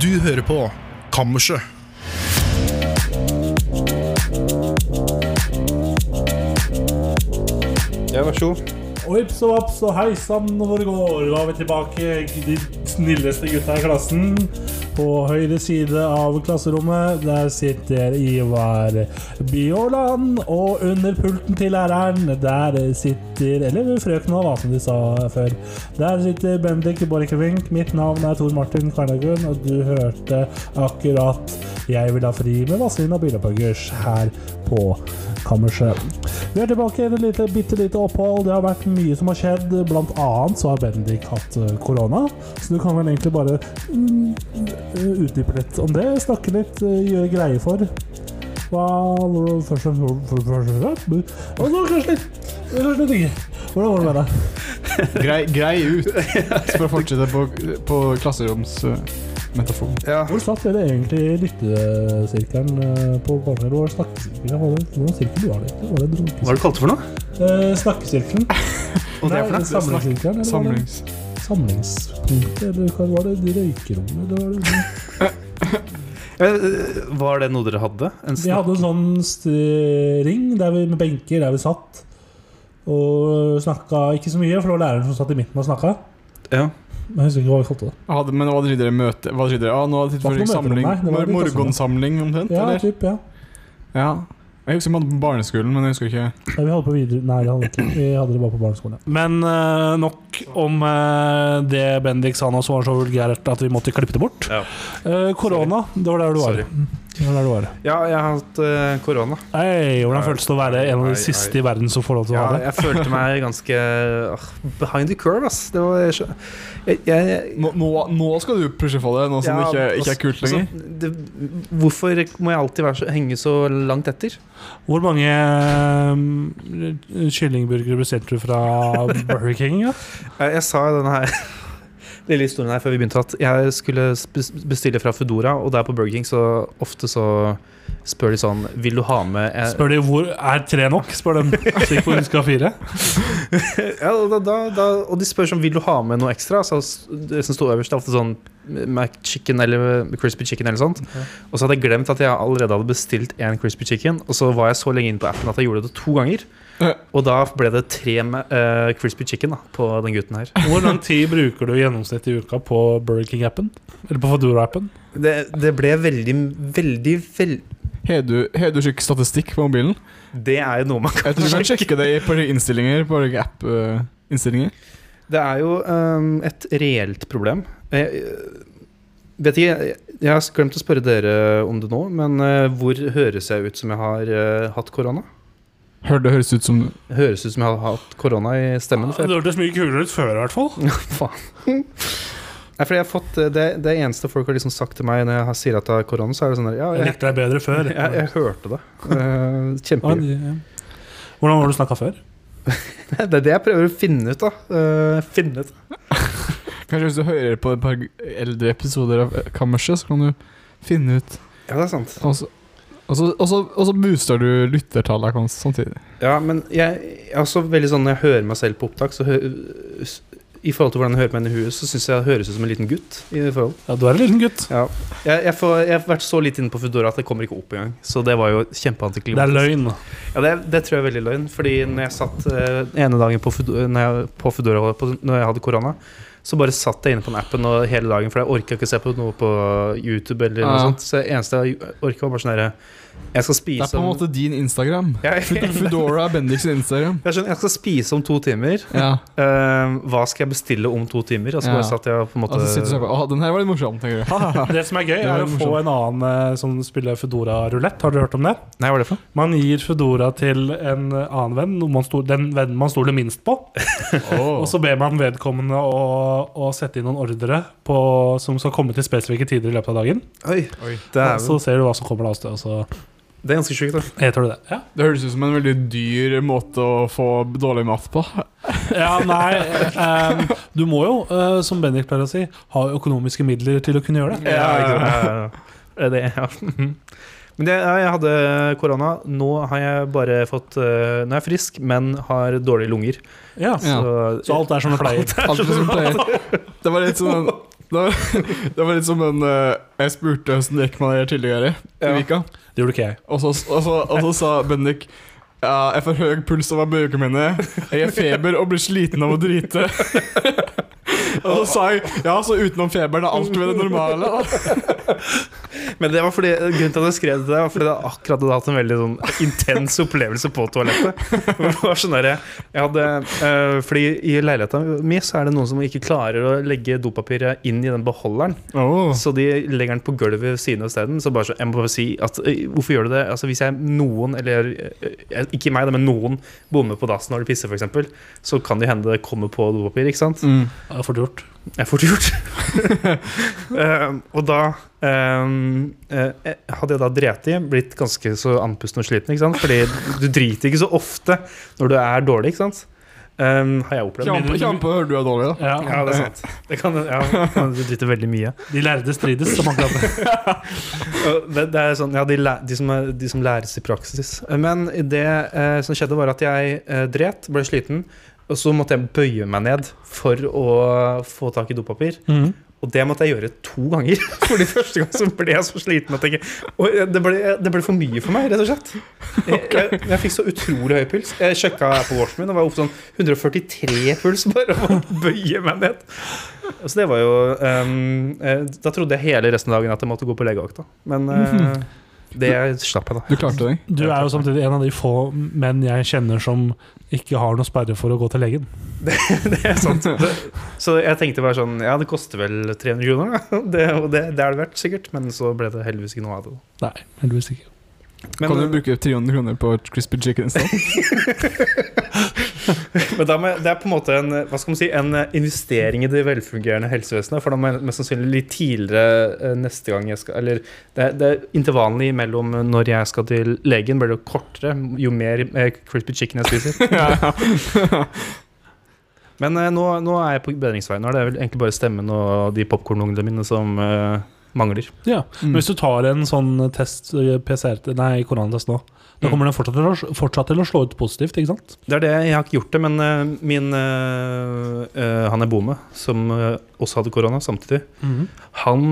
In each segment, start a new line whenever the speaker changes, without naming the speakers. Du hører på Kammerset.
Ja, vær så god.
Og ips og vaps og hei sann hvor det går. Da er vi tilbake, de snilleste gutta i klassen. På høyre side av klasserommet der sitter Ivar Bjåland. Og under pulten til læreren der sitter Eller frøkna, da, som de sa før. Der sitter Bendik Borchgrevink. Mitt navn er Tor Martin Karnagun, og du hørte akkurat 'Jeg vil ha fri' med Vazelina Bilapaggers her på kammerset. Vi er tilbake i et lite, bitte lite opphold. Det har vært mye som har skjedd. Blant annet så har Bendik hatt eh, korona. Så du kan vel egentlig bare mm, utdype litt om det. Snakke litt, eh, gjøre greie for hva hvor- først og fremst- for- for- for- for- Og så kanskje litt kanskje litt ikke. Hvordan var det med deg?
Grei, grei ut. For å fortsette på, på klasseromsmetaforen.
Ja.
Hvor satt dere egentlig i lyttesirkelen eh, på barnehjemmet? Hvor var snakkesirkelen? Hva var det- Hvordan sirkel var det? egentlig? Var det en
Hva er det du kalte for noe?
Eh, Snakkesirkelen?
Og det er for
Nei,
noe?
samlingssirkelen? eller hva var det?
Samlings...
Samlingspunktet, eller hva var det? De røykerommet? Det var det.
Eh, Var det noe dere hadde? En
Vi
snakk?
hadde en sånn st- ring der vi, med benker der vi satt og snakka ikke så mye, for det var læreren som satt i midten og snakka.
Ja.
Men jeg husker ikke hva vi kalte det.
Hadde, men hva driver dere møte? Hva driver dere? Ah, nå
Hva
hadde
for
dere
noe møterom?
samling.
Nei, det var
Mor-
ikke
Morgensamling omtrent?
Ja,
eller?
typ, ja.
Ja. Jeg husker vi hadde på barneskolen, men jeg husker ikke
Nei, vi hadde på videre... Nei, vi hadde, ikke. Vi hadde det bare på barneskolen.
Men eh, nok om eh, det Bendik sa nå som var så vulgært at vi måtte klippe det bort.
Ja.
Eh, korona, det var der du var.
Sorry.
Ja, der du var.
ja, jeg har hatt eh, korona.
Hei, hvordan
Nei,
føles det å være en av
nei,
de siste i verden som får lov til å
Ja,
ha det?
jeg følte meg ganske ah, behind the curve, ass. Det var jeg, jeg, jeg,
Nå, nå, nå skal du pushe for det, nå som det ikke, ikke er kult
altså,
lenger.
det, hvorfor må jeg alltid være så, henge så langt etter?
Hvor mange eh, kyllingburgere bestilte du fra Burger King? Ja?
Jeg, jeg sa denne her lille historien her før vi begynte at jeg skulle bes- bestille fra Foodora, og der på Burger King så ofte så spør de sånn Vil du ha med en-
Spør de hvor er tre nok? Spør dem. Slik hvor hun skal ha fire.
ja, og da, da, da, Og de spør sånn Vil du ha med noe ekstra? Så s- det som sto øverst, det er ofte sånn Mac chicken eller eh, crispy chicken eller sånt. Og så hadde jeg glemt at jeg allerede hadde bestilt én crispy chicken, og så var jeg så lenge inne på appen at jeg gjorde det to ganger.
Ja.
Og da ble det tre ma- eh, crispy chicken da, på den gutten her.
Hvor lang tid bruker du i gjennomsnitt i uka på Burger King-appen? Eller på Fadora-appen?
Det, det ble veldig, veldig, veldig
Har du, har du slik statistikk på mobilen?
Det er jo noe man
Jeg tror du kan sjekke det i på de innstillinger. På de eh, app-innstillinger.
Det er jo øhm, et reelt problem. Jeg, jeg vet ikke, jeg, jeg har glemt å spørre dere om det nå, men øh, hvor høres jeg ut som jeg har øh, hatt korona?
Hør, det høres ut som
Høres ut som jeg har hatt korona i stemmen? For jeg,
Det hørtes mye kulere ut før, i hvert fall.
nei, fordi jeg har fått øh, det, det eneste folk har liksom sagt til meg når jeg har, sier at jeg har korona, så er det sånn der Ja,
Jeg
jeg,
likte deg bedre før.
jeg, jeg, hørte det. Uh,
Ja,
Kjempehyggelig.
de- ja. Hvordan var det du snakka før?
Det er det jeg prøver å finne ut, da. Øh, finne ut.
Kanskje hvis du hører på et par eldre episoder av eh, Kammerset, så kan du finne ut
Ja, det er sant.
Og så, og så, og så, og så booster du lyttertallet hans samtidig.
Ja, men jeg, jeg er også veldig sånn når jeg hører meg selv på opptak, så hø s- i forhold til hvordan jeg hører på henne i huet, så syns jeg jeg høres ut som en liten gutt. i det forhold
Ja, Du er en liten gutt.
ja. jeg, jeg, får, jeg har vært så lite inne på Foodora at jeg kommer ikke opp engang. Så det var jo
Det er
kjempeantiklimatisk.
løgn.
Ja, det, det tror jeg er veldig løgn. Fordi når jeg satt eh, ene dagen på Foodora, når jeg, på Foodora på, når jeg hadde korona, så bare satt jeg inne på den appen og hele dagen, for jeg orka ikke se på noe på YouTube. eller noe
Ja.
sånt Så det eneste jeg orka, var bare sånn herre
Det
Jeg skal
er
spise
på en
om
måte din Instagram.
jeg,
Foodora er Bendik sin Instagram.
jeg, skjønner, jeg skal spise om to timer.
Ja,
Eh, hva skal jeg bestille om to timer? Og så
Ja.
bare satt jeg og på en måte
altså sitter du sånn Å, den her var litt morsom, tenker du.
Det som er gøy,
Det var
er å få
morsomt.
en annen eh, som spiller Foodora-rulett. Har dere hørt om det?
Nei, hva er det for?
Man gir Foodora til en eh, annen venn, noe man stol, den vennen man stoler minst på. Og så ber man vedkommende å, å sette inn noen ordre på, som skal komme til spesifikke tider i løpet av dagen.
Oi, Det,
Og
er,
så ser du hva som kommer da, og så
det er ganske sjukt, da.
heter du det. Ja,
Det høres ut som en veldig dyr måte å få dårlig mat på.
ja nei eh, Du må jo, eh, som Bendik pleier å si, ha økonomiske midler til å kunne gjøre det.
Ja, ikke sant? Ja, ja, ja. Det, ja. Men det, ja, jeg hadde korona. Nå har jeg bare fått eh, Nå er jeg frisk, men har dårlige lunger.
Ja,
Ja.
Så,
Så alt er som det pleier.
Alt som pleier. Det var litt sånn Det var, det var litt som den eh, Jeg spurte hvordan det gikk med det tidligere i
Ja.
vika,
Det gjorde ikke jeg.
og så, og så, og så sa Bendik ja, jeg får høy puls av bøkene mine. Jeg har feber og blir sliten av å drite. Og så sa jeg ja, så utenom feberen er alt ved det normale. da.
Men det var fordi, grunnen til at jeg skrev det, til deg var fordi jeg akkurat hadde hatt en veldig sånn intens opplevelse på toalettet. Det var sånn der, jeg hadde, eh, fordi I leiligheta mi så er det noen som ikke klarer å legge dopapiret inn i den beholderen. Så de legger den på gulvet ved siden av stedet. Så bare så, jeg må bare si at eh, hvorfor gjør du det? Altså Hvis jeg noen, eller eh, ikke meg, da, men noen bommer på dassen når de pisser, f.eks., så kan det hende det kommer på dopapir. ikke sant?
Mm.
Det er fort gjort.
Det er fort gjort. Ehm, og da ehm, eh, hadde jeg da dreti, blitt ganske så andpusten og sliten. ikke sant? Fordi du driter ikke så ofte når du er dårlig, ikke sant? Ehm, har jeg opplevd.
Kjampe, kjampe, hører du er dårlig, da?
Ja,
Ja, det er sant. Det kan, ja, du driter veldig mye.
De lærde strides, som han kaller det.
Og Det, det er sånn, ja, de, læ- de, som, er- de som læres i praksis. Men det eh, som skjedde, var at jeg eh, dret, ble sliten, og så måtte jeg bøye meg ned for å få tak i dopapir. Og det måtte jeg gjøre to ganger. Fordi første gang så ble jeg så sliten at jeg ikke og jeg- det, ble, det ble for mye for meg, rett og slett. Jeg, jeg, jeg fikk så utrolig høy puls. Jeg sjekka Apple Watchen min og var oppe sånn 143 puls bare av å bøye meg ned. Så det var jo ehm, eh, Da trodde jeg hele resten av dagen at jeg måtte gå på legevakta. Men eh, det slapp jeg, da.
Du klarte deg.
Du er jo samtidig en av de få menn jeg kjenner som ikke har noe sperre for å gå til legen.
Det er sant. Det- Så jeg tenkte bare sånn Ja, det koster vel 300 kroner, da. Det, og det, det er det verdt, sikkert. Men så ble det heldigvis ikke noe av det. da.
Nei, heldigvis ikke.
Men,
kan du bruke 300 kroner på et crispy chicken i stedet?
Men da må, jeg- det er på en måte en, hva skal man si, en eh, investering i det velfungerende helsevesenet. For da må jeg mest sannsynlig litt tidligere eh, neste gang jeg skal Eller det, er- det er intervallene imellom når jeg skal til legen, blir det jo kortere jo mer eh, crispy chicken jeg spiser. Men eh, nå, nå er jeg på bedringsveien. Nå er det vel egentlig bare stemmen og de popkornungene mine som eh, mangler.
Ja,
Mm.
men Hvis du tar en sånn test, eh, PCR, til- nei, koronatest nå, da kommer den fortsatt til, å, fortsatt til å slå ut positivt, ikke sant?
Det er det, Jeg har ikke gjort det, men eh, min eh, eh, Han jeg bor med, som eh, også hadde korona samtidig,
Mm.
Han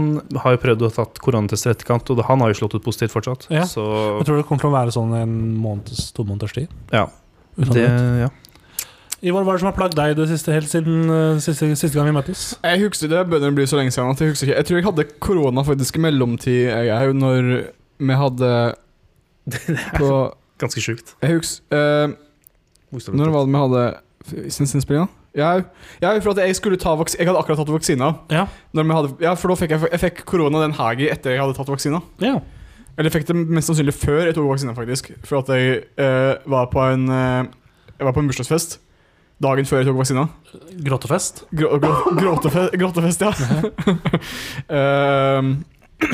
har jo prøvd å ha tatt koronatester i etterkant, og han har jo slått ut positivt fortsatt.
Ja.
Så
Jeg tror det kommer til å være sånn en måneds, to måneders tid.
ja.
Uten
Det,
at-
ja.
Ivar, hva er det som har plagd deg det siste helt siden eh, siste, siste gang vi møttes?
Jeg husker det begynner å bli så lenge siden at jeg husker ikke. Jeg tror jeg hadde korona faktisk i mellomtid, jeg òg, når vi hadde på
Ganske sjukt.
Jeg husker eh, Når var det vi hadde f- Sinsenspillinga? Jeg, jeg, for at jeg, skulle ta vaks jeg hadde akkurat tatt vaksina.
Ja.
Når vi hadde, ja, for da fikk jeg, jeg fikk korona den helgen etter jeg hadde tatt vaksina.
Ja.
Eller jeg fikk det mest sannsynlig før jeg tok vaksina, faktisk. For at jeg eh, var på en eh, Jeg var på en bursdagsfest dagen før jeg tok vaksina.
Grottefest.
Grå, grå, gråtefest, gråtefest, ja. Ehm,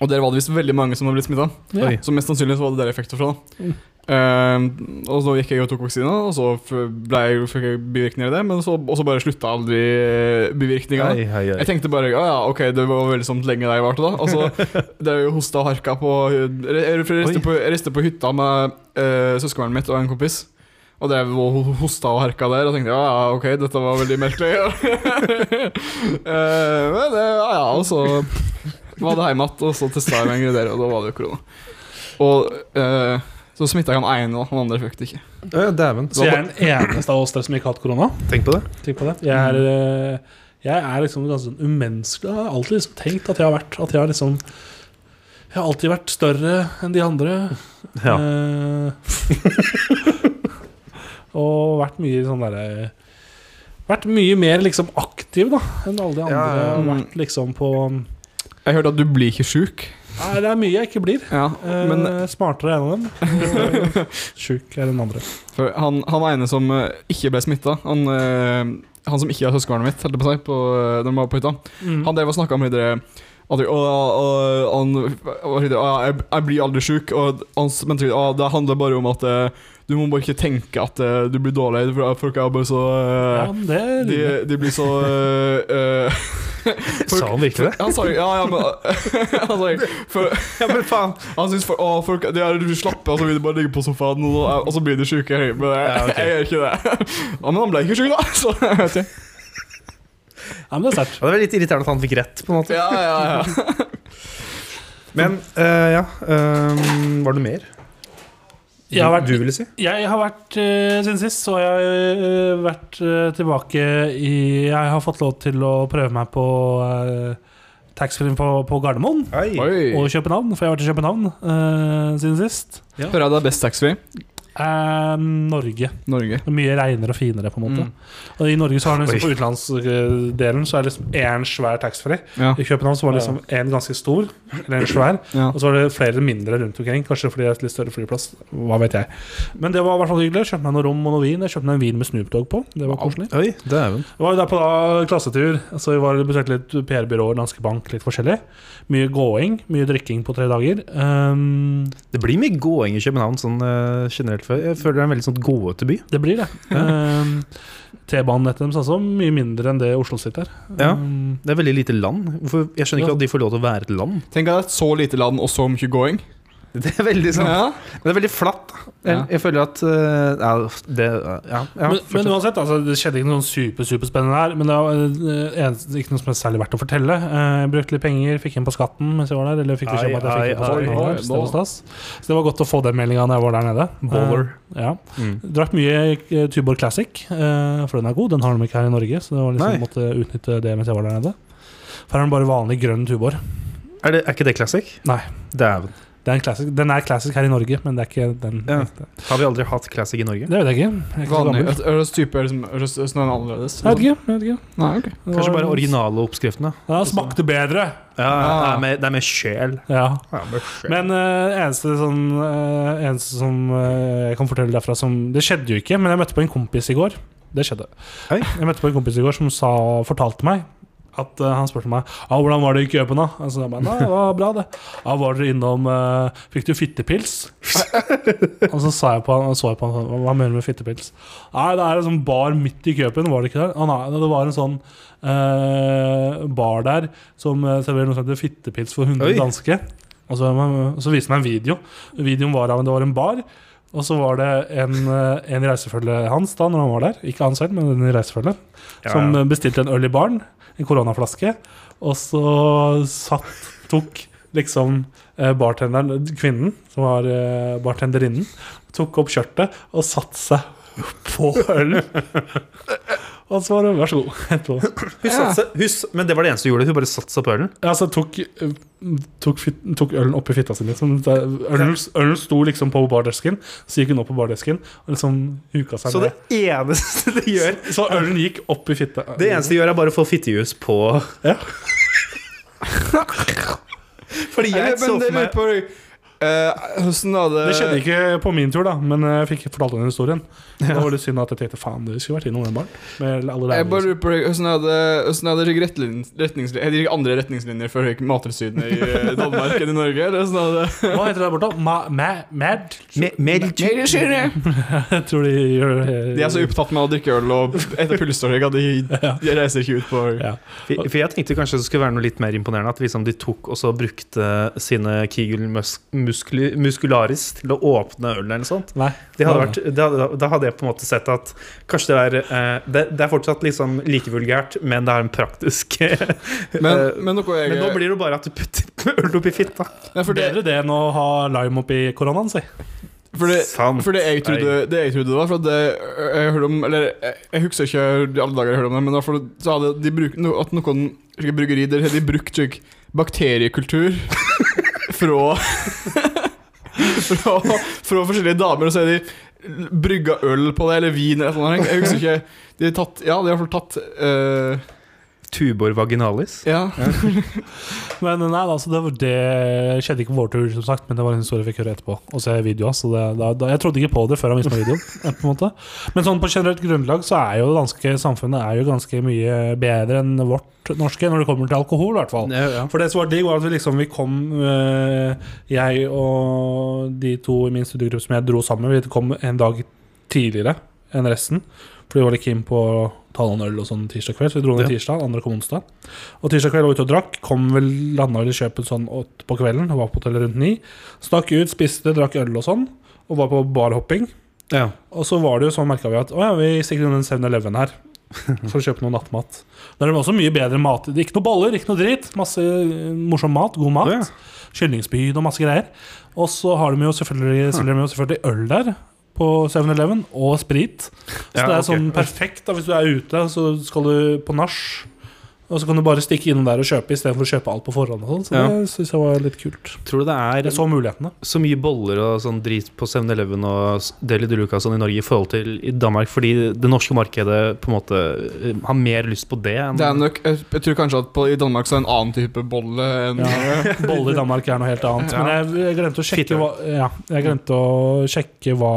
og der var det visst veldig mange som hadde blitt smitta.
Ja.
Oi.
Så mest sannsynlig så var det der jeg fikk det fra. da. Ehm, og så gikk jeg og tok vaksina, og så f- ble jeg, fikk jeg bivirkninger av det. Men så, og så bare slutta aldri eh, bivirkninga.
Hei, hei, hei.
Jeg tenkte bare ja, ja, ok, det var veldig sånn lenge der jeg varte, da. Og så drev jeg og hosta og harka på Jeg reiste
Oi.
på, jeg reiste på hytta med uh, søskenbarnet mitt og en kompis. Og drev og ho- hosta og harka der og tenkte ja, ja, ok, dette var veldig merkelig. Eh, men det, ja, ja, og så var det hjemme igjen, og så testa jeg meg en greie der, og da var det jo korona. Og eh, så smitta jeg han ene, og han andre fikk det ikke.
Ø, Dæven.
Så jeg er den eneste av oss der som ikke har hatt korona.
Tenk på det.
Tenk på det. Jeg er, eh, jeg er liksom ganske sånn umenneskelig. Jeg har alltid liksom tenkt at jeg har vært At jeg har liksom Jeg har alltid vært større enn de andre. Eh, og vært mye sånn derre Vært mye mer liksom aktiv da enn alle de andre.
Ja, ja, ja.
Og Vært liksom på Nei,
Jeg hørte at du blir ikke sjuk.
det er mye jeg ikke blir.
Ja,
Eh,
men
smartere er en av dem. og Sjuk er den andre.
For han, han ene som eh, ikke ble smitta, han, eh, han som ikke er søskenbarnet mitt, holdt jeg på å si, på, eh, når vi var på hytta,
Mm.
han drev og snakka om videre at og, og, han, og, videre, «Å, jeg, jeg blir aldri sjuk, og han s- men videre, «Å, det handler bare om at eh, du må bare ikke tenke at eh, du blir dårlig. For at folk er bare så eh,
Ja, men det er
de,
rimelig.
de blir så eh, eh, folk-
Sa han virkelig det?
Han sa ja, ja, men Han sa for,
Ja, men faen.
han syns for, å, folk de er slappe, og så vil de bare ligge på sofaen, og, og så blir de sjuke. Men jeg,
Ja, ok.
jeg gjør ikke det. Ja, men han ble ikke sjuk, da. Så jeg vet ikke.
Ja, men det er sterkt.
Ja, det var litt irriterende at han fikk rett, på en måte.
Ja, ja, ja.
Men eh, ja ehm, Var det noe mer
Jeg har vært-
du ville si?
Jeg har vært eh, siden sist, så jeg har eh, vært eh, tilbake i Jeg har fått lov til å prøve meg på uh, taxfree på, på Gardermoen
Oi.
og
Oi.
København, for jeg har vært i København eh, siden sist.
Hører jeg det er best taxfree?
Eh, Norge.
Norge.
Det er Mye reinere og finere, på en måte.
Mm.
Og I Norge så har den liksom
Oi.
på utenlandsdelen så er det liksom én svær taxfree.
Ja.
I København så var det liksom én ganske stor, eller en svær,
ja.
og så var det flere mindre rundt omkring. Kanskje fordi det er et litt større flyplass. Hva vet jeg. Men det var i hvert fall hyggelig. Kjøpte meg noen rom og noe vin. Jeg kjøpte meg en vin med Snoop Dogg på. Det var koselig.
Oi, dæven.
Vi var jo der på da, klassetur. Altså, vi var besøkte litt PR-byråer, Danske Bank, litt forskjellig. Mye gåing, mye drikking på tre dager. Ehm,
Det blir mye gåing i København sånn eh, generelt. før. Jeg føler det er en veldig sånn gåete by.
det blir det. Ehm, T-banenettet deres også, mye mindre enn det Oslo sitt er.
Ja.
Ehm,
Det er veldig lite land. Hvorfor, jeg skjønner
Ja.
ikke at de får lov til å være et land.
Tenk at det er et så lite land og så mye going.
Det er veldig sånn
Ja.
Men det er veldig flatt. Jeg,
Ja.
jeg føler at eh, ja, det, ja, ja,
men, men
fortsett.
uansett, altså, det skjedde ikke noe sånn super, superspennende her. Men det var eh, eneste- ikke noe som er særlig verdt å fortelle. Eh, Jeg brukte litt penger, fikk inn på skatten mens jeg var der. Eller fikk beskjed om at jeg
Ai,
fikk inn på
ai,
skatten.
ai,
Det
nå.
var stas. Så det var godt å få den meldinga da jeg var der nede. Eh,
Baller.
Ja.
Mm.
Drakk mye eh, Tuborg Classic, eh, for den er god. Den har de ikke her i Norge, så det var
Nei.
liksom måtte utnytte det mens jeg var der nede. For her er den bare vanlig grønn Tuborg.
Er, det, er ikke det classic?
Nei.
Dæven.
Det er en classic. Den er classic her i Norge, men det er ikke den.
Ja.
Det
Har vi aldri hatt classic i Norge?
vet jeg ikke. Jeg er ikke så
Vanlig.
gammel.
Et øres type er liksom øres, øres noe annerledes.
Jeg vet ikke. Jeg vet ikke.
Nei, ok.
Det
Kanskje
var-
bare originale oppskriftene?
Ja, det smakte bedre.
Ja, Det,
Ah.
er med, det er med sjel.
Ja.
Ja, med sjel.
Men eh, eneste sånn eh, Eneste som eh, jeg kan fortelle derfra som Det skjedde jo ikke, men jeg møtte på en kompis i går. Det skjedde.
Hei.
Jeg møtte på en kompis i går som sa, fortalte meg at eh, han spurte meg ah, hvordan var det i Køben. da? Altså, jeg bare, Nei, det var bra, det. Ja, var dere innom eh, Fikk du fittepils? og så sa jeg på han, og så jeg på han sånn, hva mener du med fittepils? Nei, det er en sånn bar midt i Køben, var det ikke der? Ah, nei, det var en sånn eh, bar der som eh, serverer noe som heter fittepils for 100
Oi.
danske. Og så, og så viste han meg en video. Videoen var av det var en bar. Og så var det en, eh, en i reisefølget hans da når han var der, ikke han selv, men en i reisefølget,
Ja,
som
ja.
eh, bestilte en øl i baren, en koronaflaske, og så satt, tok liksom eh, bartenderen, kvinnen som var eh, bartenderinnen, tok opp skjørtet og satte seg på øl. og så var det vær så god. Etterpå.
Hun satsa, hun, s- men det var det eneste hun gjorde. Hun bare satsa på ølen.
Ja, altså tok, tok, fit, tok ølen oppi fitta si, liksom. Det- Ølen, ølen sto liksom på bardesken, så gikk hun opp på bardesken og liksom huka seg
Så det
ned.
eneste det gjør,
Så ølen gikk opp i fitta.
det eneste det gjør er bare å få fittejus på
Ja.
Fordi jeg så for meg
Hvordan hadde
Det skjedde ikke på min tur, da, men eh, jeg fikk fortalt den historien. Da var det synd at jeg tenkte faen, du skulle vært innom den baren. Med alle
Jeg
der,
bare
liksom.
lurer på Hvordan hadde, hvordan hadde dere rettlin- retningslin- er det ikke andre retningslinjer for Mattilsynet i eh, Danmark enn i Norge? Eller hvordan hadde
Hva heter det der borte? Ma, ma, mad?
Me- Mel-
Jeg tror de gjør
De er så opptatt med å drikke øl og etter pulsåring at de, de reiser ikke ut på
Ja.
For for jeg tenkte kanskje det skulle være noe litt mer imponerende At liksom de tok og så brukte sine Kegel mus muskli muscularis til å åpne ølen eller noe sånt.
Nei.
Det hadde vært, det hadde, da hadde jeg på en måte sett at kanskje det er eh, det, det er fortsatt liksom like vulgært, men det er en praktisk
Men,
Eh,
men noe jeg
Men nå blir det jo bare at du putter øl oppi fitta.
Nei, for det,
Bedre det enn å ha lime oppi koronaen, si.
for det,
Sant.
for det jeg trodde, det jeg trodde da For at det, jeg hørte om Eller jeg, jeg husker ikke i alle dager jeg hørte om det, men i hvert fall så hadde de bruk, no, at noen slike bryggeri der hadde de brukt slik bakteriekultur fra, fra Fra forskjellige damer, og så er de brygga øl på det, eller vin eller noe sånt. Jeg husker ikke De har tatt Ja, de har i hvert fall tatt eh,
Tubor vaginalis.
Ja.
Men nei, altså det, var- det skjedde ikke på vår tur, som sagt, men det var en historie jeg fikk høre etterpå. Og se videoen, så det, da, da, Jeg trodde ikke på det før han viste meg videoen. eh, På en måte. Men sånn på generelt grunnlag så er jo det danske samfunnet er jo ganske mye bedre enn vårt norske når det kommer til alkohol, i hvert fall. For det som var digg, var at vi liksom Vi kom, eh, jeg og de to i min studiegruppe som jeg dro sammen med, vi kom en dag tidligere enn resten. For de var litt keen på å ta noen øl og sånn tirsdag kveld, så vi dro ned
Ja.
tirsdag. Andre kom onsdag. Og tirsdag kveld var vi ute og drakk. Kom vel landa vel i Kjøpen sånn åtte på kvelden. Var på hotellet rundt ni. Stakk ut, spiste, drakk øl og sånn. Og var på barhopping.
Ja.
Og så var det jo sånn merka vi at å ja, vi stikker innom den 7-Eleven her. Så kjøp noe nattmat. Der er det også mye bedre mat. Det er Ikke noe boller, ikke noe dritt. Masse eh, morsom mat. God mat.
Ja.
Kyllingspyd og masse greier. Og så har de jo selvfølgelig, selger de jo selvfølgelig øl der. På 7-Eleven. Og sprit. Så
Ja,
det er
ok.
sånn perfekt da, hvis du er ute, så skal du på nach. Og så kan du bare stikke innom der og kjøpe istedenfor å kjøpe alt på forhånd. Og sånn. så
Ja.
det synes jeg var litt kult.
Tror du det er
Jeg så mulighetene.
så mye boller og sånn drit på 7-Eleven og s- Deli de Luca og sånn i Norge i forhold til i Danmark, fordi det norske markedet på en måte eh, har mer lyst på det enn
Det er nok, jeg, jeg tror kanskje at på, i Danmark så er det en annen type bolle enn
Bolle i Danmark er noe helt annet. Men jeg, jeg, glemte å sjekke
Fittøl.
hva, ja, jeg glemte å sjekke hva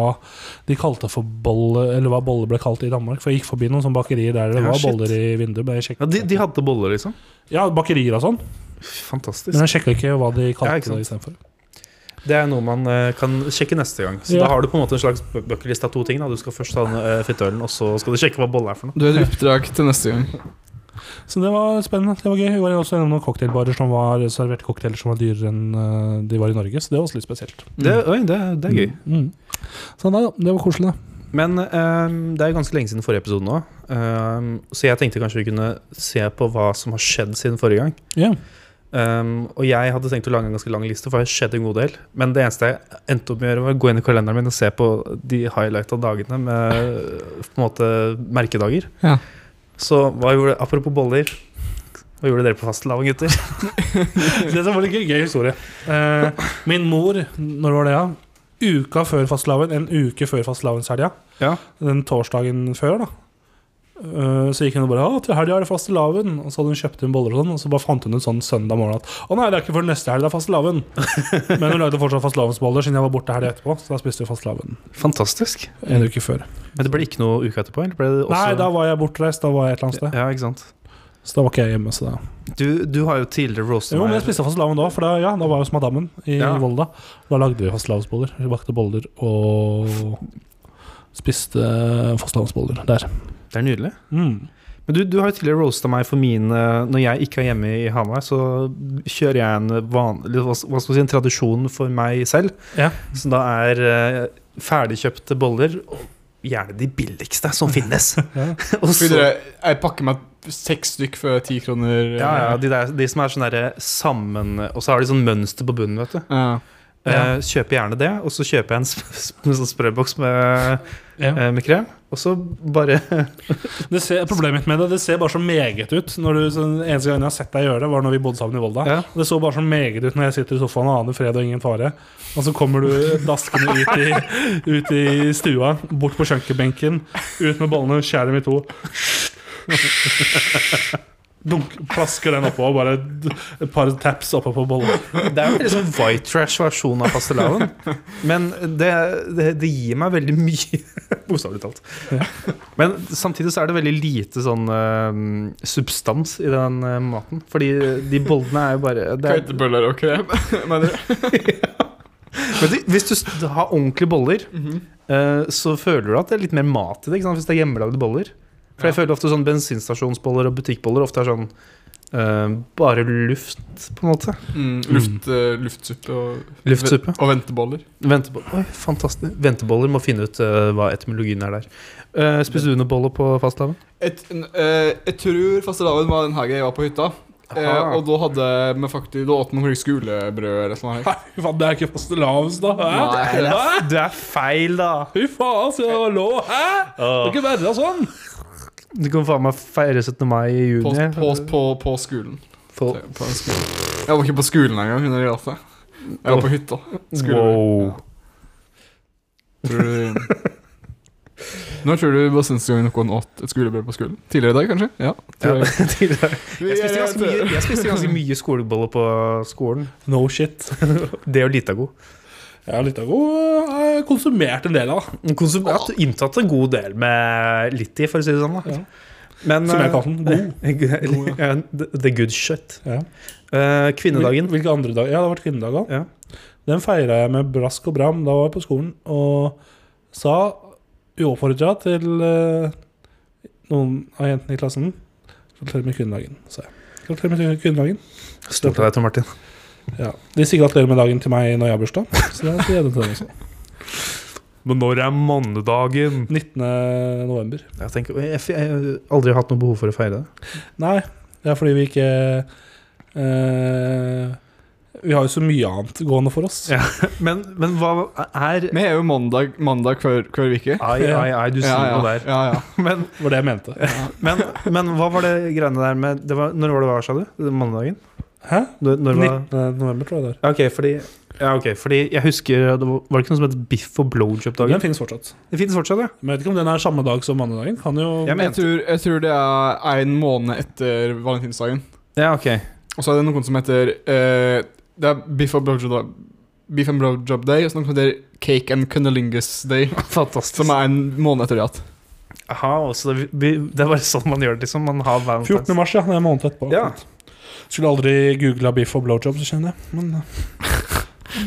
de kalte for bolle, eller hva bolle ble kalt i Danmark. For jeg gikk forbi noen sånne bakerier der det
Ja,
var
shit.
boller i vinduet. Men jeg
Ja,
sjekket-
de, de hadde boller, liksom.
ja, bakerier og sånn.
Fantastisk.
Men jeg sjekka ikke hva de
Ja,
kalte
ikke sant.
det istedenfor.
Det er noe man eh, kan sjekke neste gang. Så
Ja.
da har du på en måte en slags bu- bucketlist av to ting. Da. Du skal først ta den eh, fittølen, og så skal du sjekke hva bolle er for noe.
Du har et oppdrag til neste gang.
Så det var spennende. Det var gøy. Vi var også gjennom noen cocktailbarer som var serverte cocktailer som var dyrere enn eh, de var i Norge. Så det var også litt spesielt.
Mm.
Det, oi, det, det er gøy.
Mm. Så nei, da, det var koselig, da.
Mm.
Men ehm, det er jo ganske lenge siden forrige episode nå. Ehm, så jeg tenkte kanskje vi kunne se på hva som har skjedd siden forrige gang.
Ja.
Ehm, og jeg hadde tenkt å lage en ganske lang liste, for det har skjedd en god del. Men det eneste jeg endte opp med å gjøre, var å gå inn i kalenderen min og se på de highlighta dagene med på en måte merkedager.
Ja.
Så hva gjorde Apropos boller. Hva gjorde dere på fastelavn, gutter?
Det som var litt gøy, gøy historie. Eh, min mor, når var det, ja? Uka før fastelavn, en uke før fastelavnshelga.
Ja.
Den torsdagen før, da. Eh, så gikk hun og bare «Å, til helga er det fastelavn. Og så hadde hun kjøpt inn boller og sånn, og så bare fant hun ut sånn søndag morgen at å nei, det er ikke før neste helg det er fastelavn. Men hun lagde fortsatt fastelavnsboller siden jeg var borte helga etterpå, så da spiste vi fastelavn
Fantastisk.
en uke før.
Men det ble ikke noe uke etterpå? Eller ble det også
Nei, da var jeg bortreist, da var jeg et eller annet sted.
Ja, ikke sant.
Så da var ikke jeg hjemme, så da
Du, du har jo tidligere roasta
Jo, men
meg.
jeg spiste fastelavn da, for da, ja, da var jeg hos madammen i
Ja.
Volda. Da lagde vi fastelavnsboller. Vi bakte boller og spiste fastelavnsboller der.
Det er nydelig.
Mm.
Men du, du har jo tidligere roasta meg for mine Når jeg ikke er hjemme i Hamar, så kjører jeg en vanlig Hva hva skal vi si, en tradisjon for meg selv,
Ja.
som da er eh, ferdigkjøpte boller. og Gjerne de billigste som finnes.
Ja.
og
Fordi
så,
dere, jeg pakker meg seks stykk for ti kroner.
ja, ja, de, der, de som er sånn derre sammen Og så har de sånn mønster på bunnen, vet du.
Ja.
Eh, kjøper gjerne det, og så kjøper jeg en sp sp en sånn sprøboks med,
Ja.
eh, med krem, og så bare
Det ser, problemet mitt med det Det ser bare så meget ut. Når du, så den eneste gangen jeg har sett deg gjøre det, var når vi bodde sammen i Volda.
Ja.
Og Det så bare så meget ut når jeg sitter i sofaen og aner fred og ingen fare. Og så kommer du daskende ut i, ut i stua, bort på kjøkkenbenken, ut med bollene, skjærer dem i to. Dunk, plasker den oppå, og bare d- et par taps oppå på bollen.
Det er jo en veldig sånn white trash-versjon av fastelavn. Men det, det, det gir meg veldig mye, bokstavelig talt. Men samtidig så er det veldig lite sånn eh, substans i den eh, maten. Fordi de bollene er jo bare det er,
Kveitebøller og krem. Mener du?
men de, Hvis du s- har ordentlige boller,
mhm.
eh, så føler du at det er litt mer mat i det. Ikke sant? Hvis det er hjemmelagde boller. For jeg føler ofte sånn bensinstasjonsboller og butikkboller ofte er sånn eh, bare luft, på en måte.
Mm, luft, eh, luftsuppe og
Luftsuppe.
Og venteboller.
Venteboller, Oi, fantastisk. Venteboller må finne ut eh, hva etymologien er der. Uh, Spiste du noen boller på fastelavn?
Et, en, eh, jeg tror fastelavn var den helga jeg var på hytta. Eh,
Aha.
og da hadde vi faktisk Da åt vi noe skolebrød eller sånn, noe sånt. her.
Fy faen, det er ikke fastelavns, da! Hæ?
Nei, det-
Hæ?
Du er feil, da!
Fy faen, så jeg lå Hæ? Det kan ikke være sånn!
Du kan faen meg feire 17. mai i
På,
juni.
på, på, på skolen.
På-
På en skole. Jeg var ikke på skolen engang. Hun er glad for det. Jeg var på hytta.
Wow.
Tror du Når tror du var siste gang noen åt et skolebrød på skolen? Tidligere i dag, kanskje? Ja.
Ja,
tror jeg.
tidligere.
Vi
jeg, spiste
er-
ganske mye, jeg spiste ganske mye skoleboller på skolen.
No shit.
Det og lita god.
Jeg har litt av god eh, konsumert en del av, da.
Konsumat inntatt en god del med litt i, for å si det sånn. Da.
Ja.
Men, eh,
Som jeg kaller den. God.
God. The good shit.
Ja.
Eh, kvinnedagen.
Hvilke andre dager? Ja, det har vært kvinnedagen.
Ja.
Den feira jeg med brask og bram. Da var jeg på skolen og sa uoppfordra til eh, noen av jentene i klassen Gratulerer med kvinnedagen, sa jeg. Gratulerer med kvinnedagen.
Stolt av deg, Tom Martin.
Ja. De sier gratulerer med dagen til meg når jeg har bursdag, så da sier jeg det til dem også.
Men når er mannedagen?
19. november.
Jeg tenker, jeg, jeg, jeg har aldri hatt noe behov for å feire det.
Nei, det er fordi vi ikke eh, Vi har jo så mye annet gående for oss.
Ja. Men, men hva er
Vi er jo mandag, mandag hver, hver uke.
Ai, ai, ai, du sier
ja,
noe
ja,
der.
ja, ja.
Men,
Det var det jeg mente.
men, men hva var det greiene der med det var, Når var det hva, sa du? Mandagen?
Hæ?
Når, når var,
19. november, tror jeg det er.
ja, ok, fordi, ja, ok, fordi jeg husker det var, var det ikke noe som het biff og
Den
blowjob-dagen?
finnes fortsatt.
Det finnes fortsatt, ja.
Men jeg vet ikke om den er samme dag som mannedagen. Kan jo
Jeg
Jeg
mente
tror, jeg tror det er en måned etter valentinsdagen.
Ja, ok.
Og så er det noen som heter eh, Det er Beef and Blowjob, beef and blowjob Day, og så noen som heter Cake and Cunnilingus Day,
Fantastisk.
som er en måned etter det igjen.
Aha, og så det, det er bare sånn man gjør det, liksom. Man har valentines.
14. mars, ja. Det er en måned etterpå.
Ja.
Skulle aldri googla biff og blowjobs, kjenner jeg. Men eh.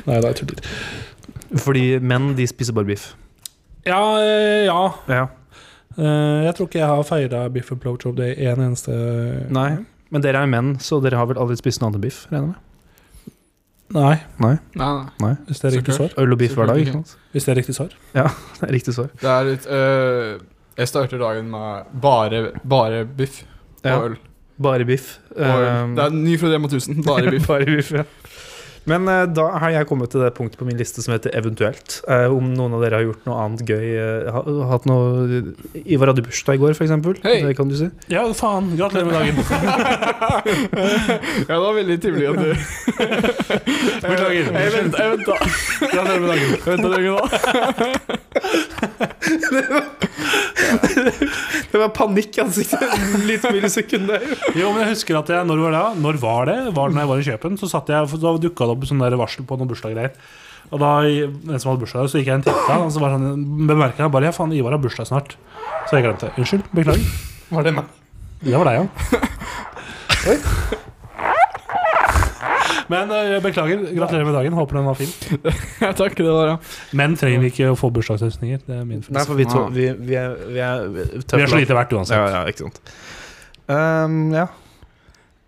Nei da, jeg tuller.
Fordi menn, de spiser bare biff.
Ja, eh, ja.
Ja.
Eh, Jeg tror ikke jeg har feira biff og blowjob day en eneste
Nei. Men dere er menn, så dere har vel aldri spist noe annet enn biff? regner jeg med?
Nei,
Nei, nei.
hvis det er
Så
riktig
kult.
svar.
Øl og biff hver dag?
Selvfølgelig
ikke sant?
Hvis det er riktig svar.
Det er Riktig svar.
Det er litt eh, Jeg starter dagen med bare, bare biff og
Ja.
øl.
Bare biff.
Og øl.
Um,
Det er ny fra Rema 1000. Bare biff.
Bare biff, ja. Men eh, da har jeg kommet til det punktet på min liste som heter eventuelt. Eh, om noen av dere har gjort noe annet gøy. eh, ha, hatt noe eh, Ivar hadde bursdag i går, f.eks.
Hei!
Det kan du si.
Ja, faen. Gratulerer med dagen.
ja, det var veldig trivelig at du
Beklager.
Jeg venta. Jeg venta.
Gratulerer med dagen.
Jeg venta lenge nå.
Det var panikk i ansiktet. Litt millisekund der.
Jo, men jeg husker at jeg, når var det? Når var det? Var det når jeg var i Kjøpen? Så satt jeg, for da dukka det opp sånn der varsel på noen bursdaggreier. Og da, en som hadde bursdag, så gikk jeg en titt og så var det sånn, bemerket jeg bare ja, faen, Ivar har bursdag snart. Så jeg glemte. Unnskyld. Beklager.
Var det meg?
Det var deg, ja. Men eh, beklager. Gratulerer med dagen. Håper den var fin.
Ja, takk. Det var ja.
Menn trenger ikke å få bursdagshilsninger. Det er min
Nei,
følelse.
for vi, to, vi, vi er Vi er, vi er,
Vi er så lite verdt
Ja,
uansett.
ja, ikke sant. Um, ja.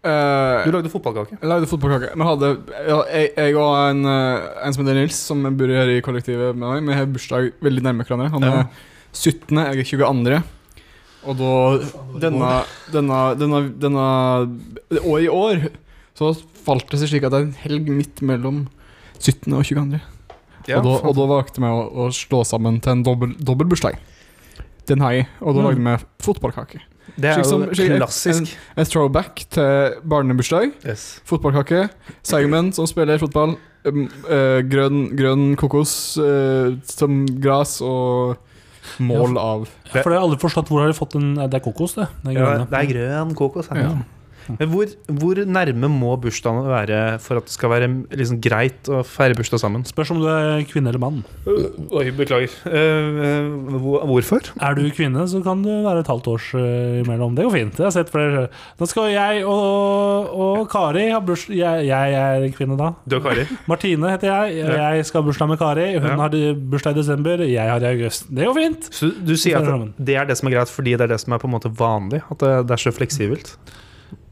Eh,
Du lagde fotballkake.
Jeg lagde fotballkake. Men hadde, ja, jeg, jeg og en, eh, en som heter Nils, som bor her i kollektivet med meg, vi har bursdag veldig nærme hverandre. Han er
Ja.
17., jeg er 22. Og da denne, denne, denne, denne Og i år så falt det seg slik at det er en helg midt mellom 17. og 22. og, da, og da valgte vi å, å slå sammen til en dobbel, dobbel bursdag. Den har jeg. Og da lagde vi fotballkake.
det er
slik som- slik-
jo klassisk.
En throwback til barnebursdag.
Yes.
Fotballkake. Seigmenn som spiller fotball. Um, eh, grønn, grønn kokos eh, som gras og mål av
For det har jeg aldri forstått. Hvor har de fått den eh, Det er kokos, det. Den
Ja,
grønne.
det er grønn kokos. her,
Ja.
ja. Men hvor, hvor nærme må bursdagen være for at det skal være liksom, greit å feire bursdag sammen?
Spørs om du er kvinne eller mann.
Øh, Oi, beklager. Øh, hvorfor?
Er du kvinne, så kan du være et halvt års eh, imellom. Det går fint. Jeg har sett flere Da skal jeg og, og Kari ha bursdag jeg, jeg er kvinne, da.
Du og Kari.
Martine heter jeg.
Ja.
Jeg skal ha bursdag med Kari. Hun
Ja.
har bursdag i desember, jeg har det i august. Det går fint.
Så du sier at det er det som er greit fordi det er det som er på en måte vanlig? At det, det er så fleksibelt?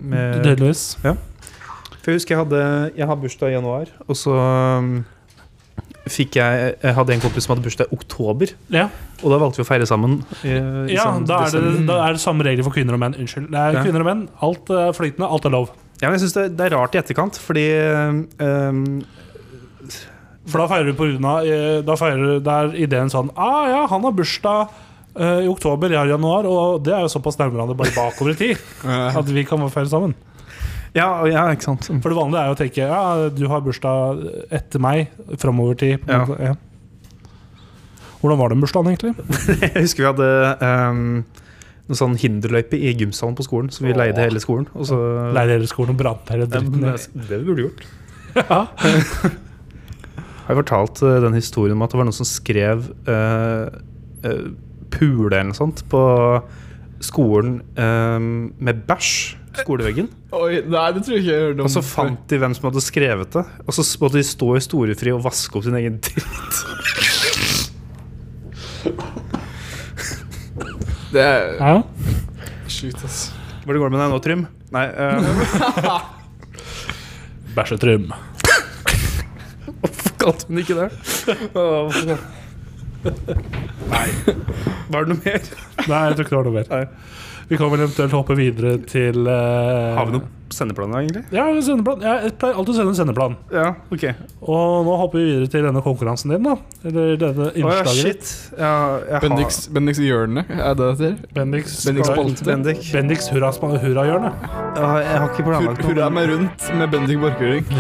Med,
Tydeligvis.
for jeg husker jeg hadde Jeg har bursdag i januar, og så um, fikk jeg Jeg hadde en kompis som hadde bursdag i oktober,
Ja,
og da valgte vi å feire sammen. I, i
ja
sånn
da, er det,
desember.
da er det samme regler for kvinner og menn. Unnskyld. Det er
Ja.
kvinner og menn. Alt er flytende, alt er lov.
Ja, men jeg syns det, det er rart i etterkant, fordi ehm,
For da feirer du på grunn av eh, Da feirer du der ideen sånn Ah ja, han har bursdag eh, i oktober, jeg har i januar, og det er jo såpass nærmere hverandre bare bakover i tid
eh,
at vi kan feire sammen.
ja, ja, ikke sant.
For det vanlige er jo å tenke ja, du har bursdag etter meg, framover tid. på en
Ja.
måte. Ja. Hvordan var den bursdagen, egentlig?
Jeg husker vi hadde ehm, noen sånn hinderløype i gymsalen på skolen, så vi
Åh.
leide hele skolen. Og så
Leide hele skolen og brant hele
Ja, men
dritten.
det,
ned.
det vi burde gjort.
Ja.
Har jeg fortalt eh, den historien om at det var noen som skrev eh, eh, pule eller noe sånt på skolen ehm, med bæsj? Skoleveggen.
Oi, nei, det tror jeg ikke jeg hørte om.
Og så fant de hvem som hadde skrevet det. Og så måtte de stå i storefri og vaske opp sin egen dritt.
Det er
Ja.
sjukt, ass.
Hvordan går det med deg nå, Trym? Nei, eh,
Bæsjetrym.
Hvorfor kalte hun ikke det? Å, hvorfor kalte- Var det noe mer?
Nei, jeg tror ikke det var noe mer.
Nei.
Vi kan vel eventuelt hoppe videre til eh,
Har vi noen sendeplaner, egentlig?
Ja, sendeplan. Ja, Jeg pleier alltid å sende en sendeplan.
Ja, ok.
Og nå hopper vi videre til denne konkurransen din, da. Eller dette
Å ja,
innslaget. ditt.
shit. Ja, jeg
Bendiks, Bendiks hjørne, er det det heter?
Bendiks,
Bendiks
skal-
spalte.
Bendik.
Bendiks hurra- spa- hurrahjørne.
Ja, sånn- jeg har ikke
Hur-
planlagt
Hurra
noe.
meg rundt med Bendik Borchgrevink.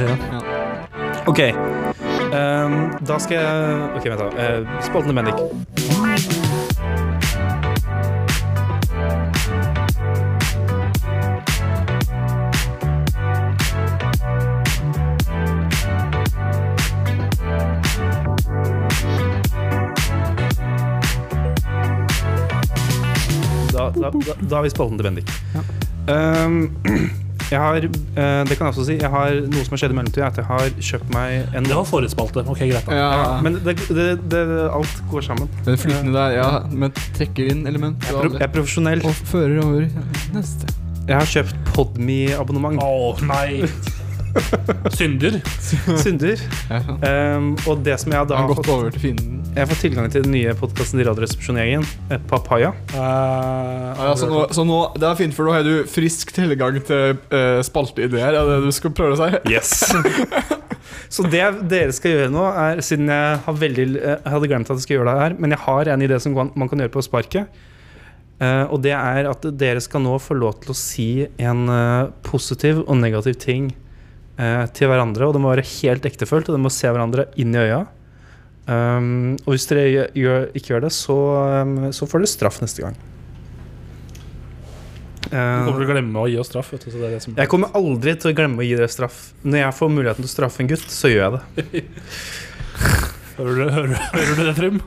Ok. Ehm, da skal jeg Ok, vent, da. Uh, spalten til Bendik. Da, da, da, da har vi spalten til Bendik. Ehm, jeg har eh, Det kan jeg også si. Jeg har noe som har skjedd i mellomtida. er At jeg har kjøpt meg en
Det var forrige spalte. Ok, greit. da
Ja,
Men det, det, det, alt går sammen.
Den flytende der, ja. Med trekker inn element
Pro- Jeg er profesjonell.
og fører over sånn. neste.
Jeg har kjøpt Podme-abonnement.
Å, nei! Synder.
Synder.
Ja, ja.
Um, og det som jeg da
Han
har
har gått
fått
over til fienden.
Jeg har fått tilgang til den nye podkasten til Radioresepsjongjengen, eh, Papaya.
Eh,
Ja, ja, så, nå, så nå, Det er fint, for nå har du frisk tilgang til uh, spalteideer. Er det det du skal prøve å si?
Yes! Så det dere skal gjøre nå, er siden jeg har veldig Jeg hadde glemt at jeg skulle gjøre det her, men jeg har en idé som kan- man kan gjøre på sparket. Eh, og det er at dere skal nå få lov til å si en eh, positiv og negativ ting eh, til hverandre. Og det må være helt ektefølt, og dere må se hverandre inn i øya. Um, og hvis dere gjør, gjør, ikke gjør det, så, um, så får dere straff neste gang. Eh,
Du kommer til å glemme å gi oss straff. Vet du, så det er det som
jeg kommer aldri til å glemme å gi dere straff. Når jeg får muligheten til å straffe en gutt, så gjør jeg det.
hører, du, hører, hører du det, Trym?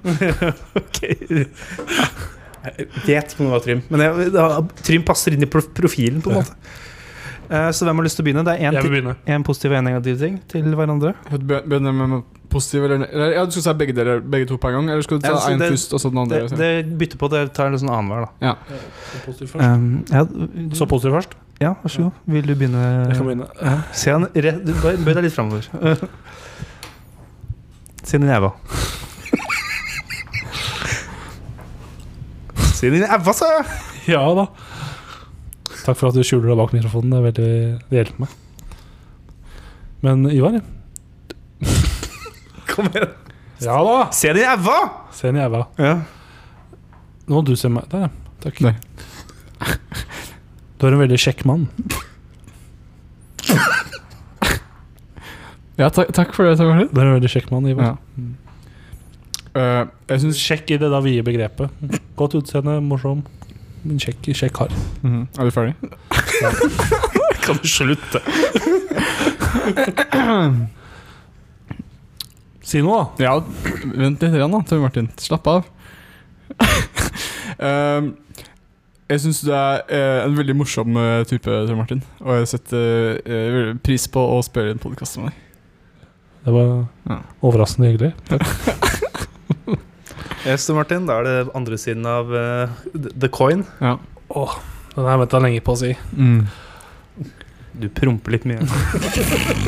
Ok Jeg vet ikke om det var Trym, men jeg, da, Trym passer inn i prof- profilen, på en måte. Eh, så hvem har lyst til å begynne? Det er én
Jeg vil
til-
begynne.
én positiv og én negativ ting til hverandre.
Skal du Begynne med positiv eller eller- Ja, du skal si begge, dere, begge to på en gang? Eller skal du
Ja,
ta
så
én
det-
først, og så den andre?
Det, det bytter på, det tar en sånn annenhver, da.
Så positiv først.
Um, ja,
Så positiv først?
ja, vær så god. Vil du begynne?
Jeg kan begynne.
Se han rett du- Bøy bøy deg litt framover. Se den i ræva. Se den i ræva, sa jeg!
Ja da. Takk for at du skjuler deg bak mikrofonen. Det, er veldig, det hjelper meg. Men Ivar?
Kom igjen.
Ja da!
Se den i ræva!
Se en jævla.
Ja.
Nå må du se meg. Der, ja. Takk.
Nei.
Du er en veldig kjekk mann.
Ja, takk, takk for det. Takk for det.
Du er en veldig kjekk mann, Ivar.
Ja. Eh, jeg syns
Sjekk i det da vide begrepet. Godt utseende, morsom. Men kjekk, kjekk kar.
Er du ferdig?
Kan du slutte? si noe, da.
Ja, vent litt igjen da, Tøy Martin. Slapp av. um, jeg syns du er eh, en veldig morsom eh, type, Tøy Martin. Og jeg setter eh, veldig pris på å spille en podkast med deg.
Det var
Ja.
overraskende hyggelig.
Yes, Martin, da er det andre siden av eh, the coin.
Ja.
Den har jeg venta lenge på å si.
Mm.
Du promper litt mye.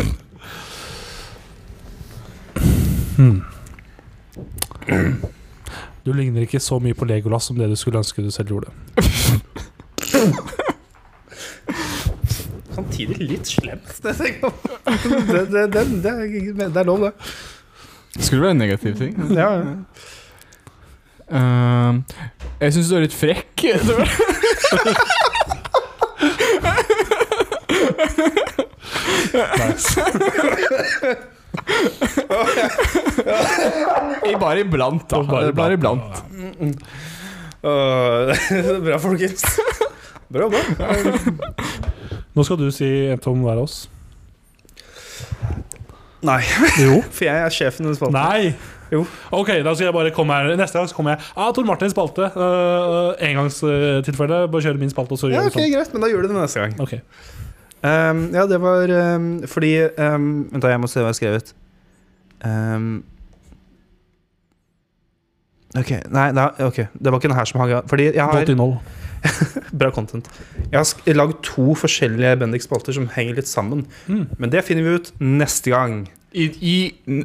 Hmm. Du ligner ikke så mye på Legolas som det du skulle ønske du selv gjorde.
Samtidig litt slemt. Det, det, det, det, det, det er lov, det.
Skulle være en negativ ting.
Ja, ja.
Um, jeg syns du er litt frekk. Tøy Martin. I- Bare iblant, da.
Bare
Bare iblant.
Åh, bra, folkens. Bra, bra.
Nå skal du si et om hver av oss.
Nei,
Jo.
for jeg er sjefen i den spalten.
Nei!
Jo.
Ok, da skal jeg bare komme her. Neste gang så kommer jeg. Ah, Tor Martin spalte. Uh, Engangstilfelle. Bare kjøre min spalte, og så
Ja,
gjør
ok,
sånn. vi
Greit, men da gjør du det neste gang.
sånn. Ok.
Ehm, ja, det var ehm, fordi ehm, Vent, da, jeg må se hva jeg har skrevet. Ehm, ok, nei, nei, ok. Det var ikke den her som hang Fordi jeg har
Godt innhold.
Bra content. Jeg har sk- lagd to forskjellige Bendik-spalter som henger litt sammen.
Mm.
Men det finner vi ut neste gang.
I, i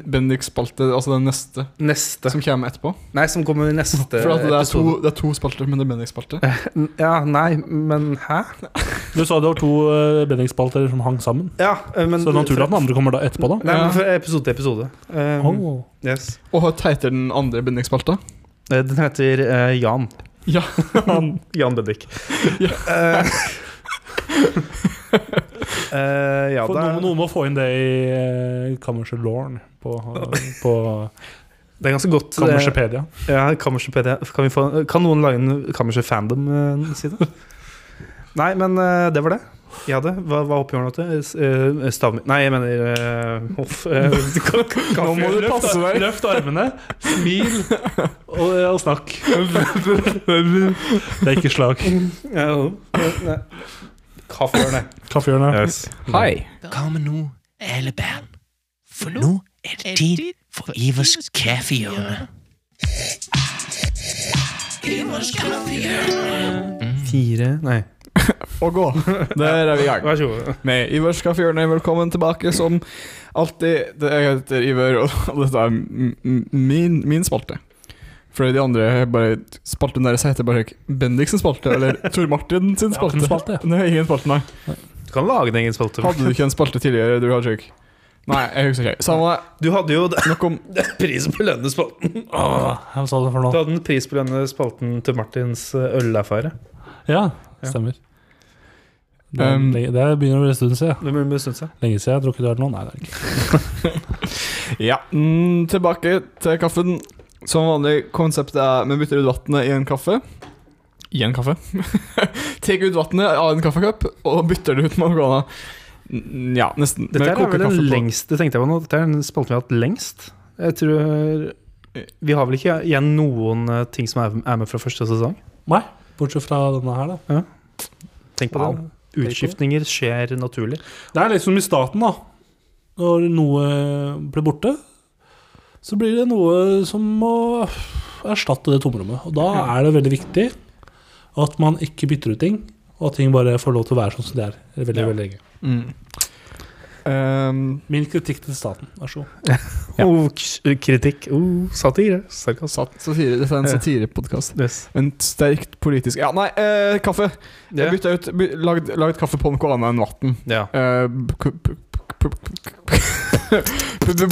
Bendiks spalte, altså den neste
Neste
som kommer etterpå.
Nei, som kommer i neste
For at det, er to,
episode.
det er to spalter, men det er Bendiks spalte.
Ja, nei, men hæ?
Du sa det var to uh, bendingsspalter som hang sammen.
Ja, eh, men
Så det er naturlig at den andre kommer da etterpå, da.
Nei,
Ja.
men fra episode til episode. Eh,
Oh.
Yes.
Og hva heter den andre Bendiks spalta?
Eh, Den heter eh, Jan.
Ja.
Han- Jan Bendik.
Ja.
Eh, eh, ja,
For
da,
noen, noen må få inn det i eh, Kammerset Lorne på, på
det er ganske godt. eh,
Kammersepedia.
Ja, Kammerset PD. Kan, vi få, kan noen lage en Kammerset Fandom-side? Nei, men eh, det var det. Jeg hadde. Hva, hva håper du nå til? S- eh, Stav... Nei, jeg mener eh, hoff, eh, ka- ka-
Nå må du passe deg.
Løft armene, smil og, og snakk. Det er ikke slag.
Ja, nei. Kaffehjørnet.
Kaffehjørnet.
Yes.
Hei.
Kom nå, alle barn. For nå er det tid for Ivers kaffehjørne. Ivers kaffehjørne.
Fire Nei,
Og gå. Der er vi i gang.
vær så god.
Med Iver Skaffjørne, velkommen tilbake som alltid. Det- Jeg heter Iver, og dette er m- m- min, min spalte. For de andre er bare spalten deres heter bare Bendiks sin spalte, eller Tor Martin sin
Jeg har ikke
spalte.
noen spalte, jeg.
Nei, ingen spalte, nei.
Du kan lage din egen spalte.
Hadde du ikke en spalte tidligere, du hadde ikke? Nei, jeg husker ikke. Samme
Du hadde jo
det. Nok om
prisbelønnende spalten.
Åh, Hva sa du for
Du
noe?
hadde den prisbelønnende spalten til Martins eh, ølaffære.
Ja, stemmer. Det, er
Um,
lenge- det begynner å bli en stund siden.
Det burde bestemme seg.
Lenge siden jeg har drukket øl nå. Nei, det er det ikke.
Ja. Mm, tilbake til kaffen. Som vanlig, konseptet er vi bytter ut vannet i en kaffe. I en kaffe? Tar ut vannet av en kaffekopp og bytter det ut med noe annet. Mm, Ja, nesten. Vi
Dette er
koker
vel den
kaffe på-
lengste, tenkte jeg på nå. Dette er den spalten vi har hatt lengst. Jeg tror Vi har vel ikke igjen noen eh, ting som er er med fra første sesong?
Bortsett fra denne her, da.
Tenk på det. Utskiftninger skjer naturlig.
Det er liksom i staten, da. Når noe blir borte, så blir det noe som må erstatte det tomrommet. Og da er det veldig viktig at man ikke bytter ut ting, og at ting bare får lov til å være sånn som de er. Veldig,
Ja.
veldig lenge.
Mm. Ehm,
Min kritikk til staten, vær så god.
Ja.
Oh, k- kritikk. Oh, satire. Sarkasme.
sat- satire. Dette er en
Ja.
satirepodkast.
Yes.
En sterkt politisk Ja, nei, eh, kaffe!
Ja.
Jeg bytta ut by- lagd, lagd kaffe på noe annet enn vann.
Ja.
Eh, k- p- p- p- Putte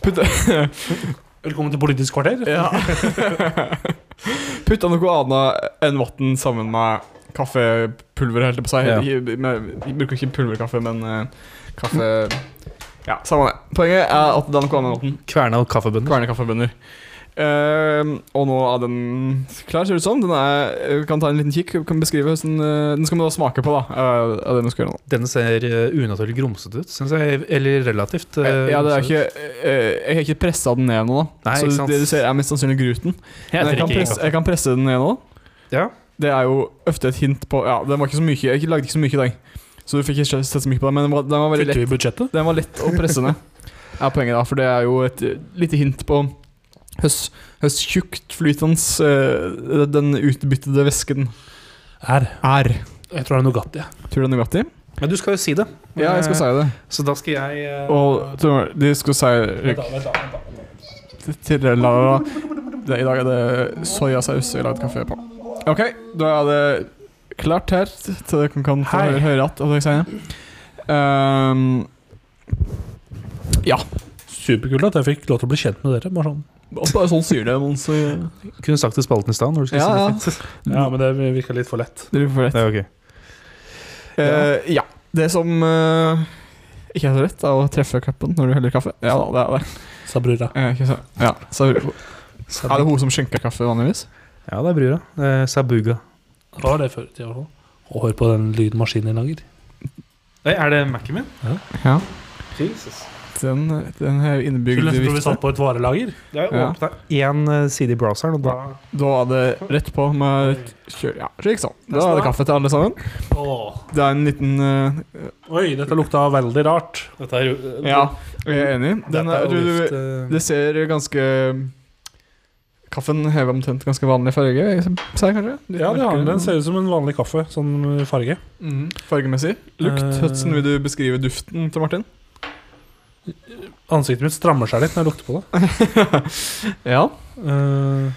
Putte
Velkommen til Politisk kvarter.
Ja. Putta noe annet enn vann sammen med kaffepulver, holdt jeg på å si.
Ja.
Vi- vi- Vi vi bruker ikke pulverkaffe, men eh, kaffe Ja, samme det. Poenget er at det er noe annet enn vann.
Kverna og kaffebønner.
Kverne kaffebønner. Ehm, og nå er den klar, ser det ut som. Den er, eh, vi kan ta en liten kikk. vi Kan beskrive hvordan, eh, den skal vi da smake på, da. eh, er det vi skal gjøre nå.
Denne ser eh, unaturlig grumsete ut, syns jeg. Eller relativt. eh,
Ja, det er
grumsete.
ikke, eh, jeg har ikke pressa den ned ennå, da.
Nei,
så
ikke sant.
det du ser, er mest sannsynlig gruten. Men jeg,
drikker
kan
ikke
presse, jeg kan presse den ned nå.
Ja.
Det er jo ofte et hint på Ja, den var ikke så mye Jeg lagde ikke så mye i dag, så du fikk ikke sett så mye på den, men den var, den var veldig
Kutter
lett,
vi budsjettet?
den var lett å presse ned. er poenget, da, for det er jo et eh, lite hint på høst, høst tjukt flytende eh, Den utbyttede væsken
Her.
er
Jeg tror det er Nugatti. jeg.
Tror du det er Nugatti?
Men du skal jo si det.
Ja, jeg skal si det.
Så da skal jeg eh,
Og tror du- de skal si Rick, til la, la, la. Det, I dag er det soyasaus jeg har lagd kaffe på. Ok, da er det klart her, så dere kan, kan få
Hei.
høre, høre at at jeg sier. Ehm, ja.
Superkult at jeg fikk lov til å bli kjent med dere. Bare sånn.
Og Bare sånn sier det noen, så
kunne sagt det i spalten i stad. når du skulle
Ja,
si det.
Ja, men det virka litt for lett.
Dere får rett.
Ja, ok.
Eh, ja. Det som eh, ikke er så lett, er å treffe koppen når du heller kaffe. Ja da, det er det.
Sa brura.
Eh, ikke så. Ja. Så, er det hun som skjenker kaffe, vanligvis?
Ja, det er brura. Eh, Sabuga.
Det var det før i tida. i hvert fall. Og hør på den lyden maskinen lager.
Nei, er det Mac-en min?
Ja.
Jesus.
Den, den har jo innebygd
Skulle nesten tro vi
viktig-
satt på et varelager.
Det er
Ja.
åpna én eh, side i browseren, og da
Da er det rett på med et kjør... Ja, slik sånn. Da er det kaffe til alle sammen.
Åh.
Det er en liten eh,
Oi, dette lukta veldig rart.
Dette er jo
Ja, jeg er enig. Den er, eh, du, du,
det,
det ser ganske Kaffen har omtrent ganske vanlig farge, jeg sier kanskje? Litt
Ja, det har den.
mørkere.
Den ser ut som en vanlig kaffe, sånn farge.
Mhm, Fargemessig. Lukt.
Eh.
Hudson, vil du beskrive duften til Martin?
Ansiktet mitt strammer seg litt når jeg lukter på det.
Ja.
Eh,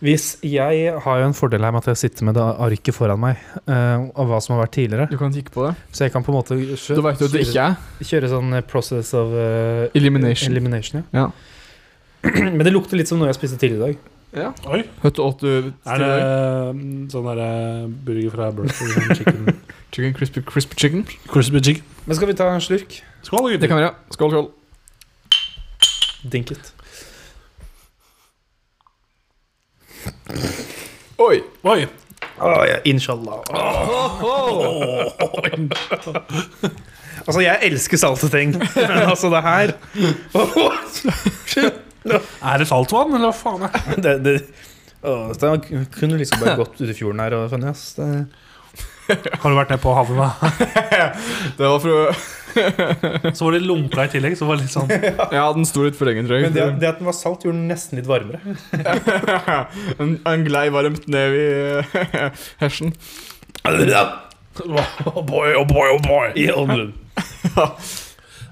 Hvis jeg har jo en fordel her med at jeg sitter med det arket foran meg eh, av hva som har vært tidligere,
Du kan kikke på det.
så jeg kan på en måte
Du vet jo at det ikke er
kjøre sånn eh, process of eh,
Elimination.
elimination ja.
Ja.
Men det lukter litt som noe jeg spiste tidligere i dag.
Ja.
oi,
Høtt og åt du
er det mm, sånn der eh, burger fra Burger King, chicken
Chicken crispy, crispy chicken?
Crispy chicken.
Men skal vi ta en slurk?
Skål,
Det
gutter.
kan vi gjøre. Skål, skål.
Dinket.
Oi!
Oi!
Oh, ja, inshallah. altså, jeg elsker salte ting, men altså, det her
Er det saltvann, eller hva faen er det?
det, det, å, det kunne liksom bare gått ut i fjorden her og funnet ass. Det,
Har du vært nede på havna?
Det var fra
Så var det lunka i tillegg, så var det litt sånn
Ja, den sto litt for lenge, tror jeg.
men det, det at den var salt, gjorde den nesten litt varmere.
en, en glei varmt ned i eh, hersen.
Oh boy, oh boy, oh boy.
I ånden.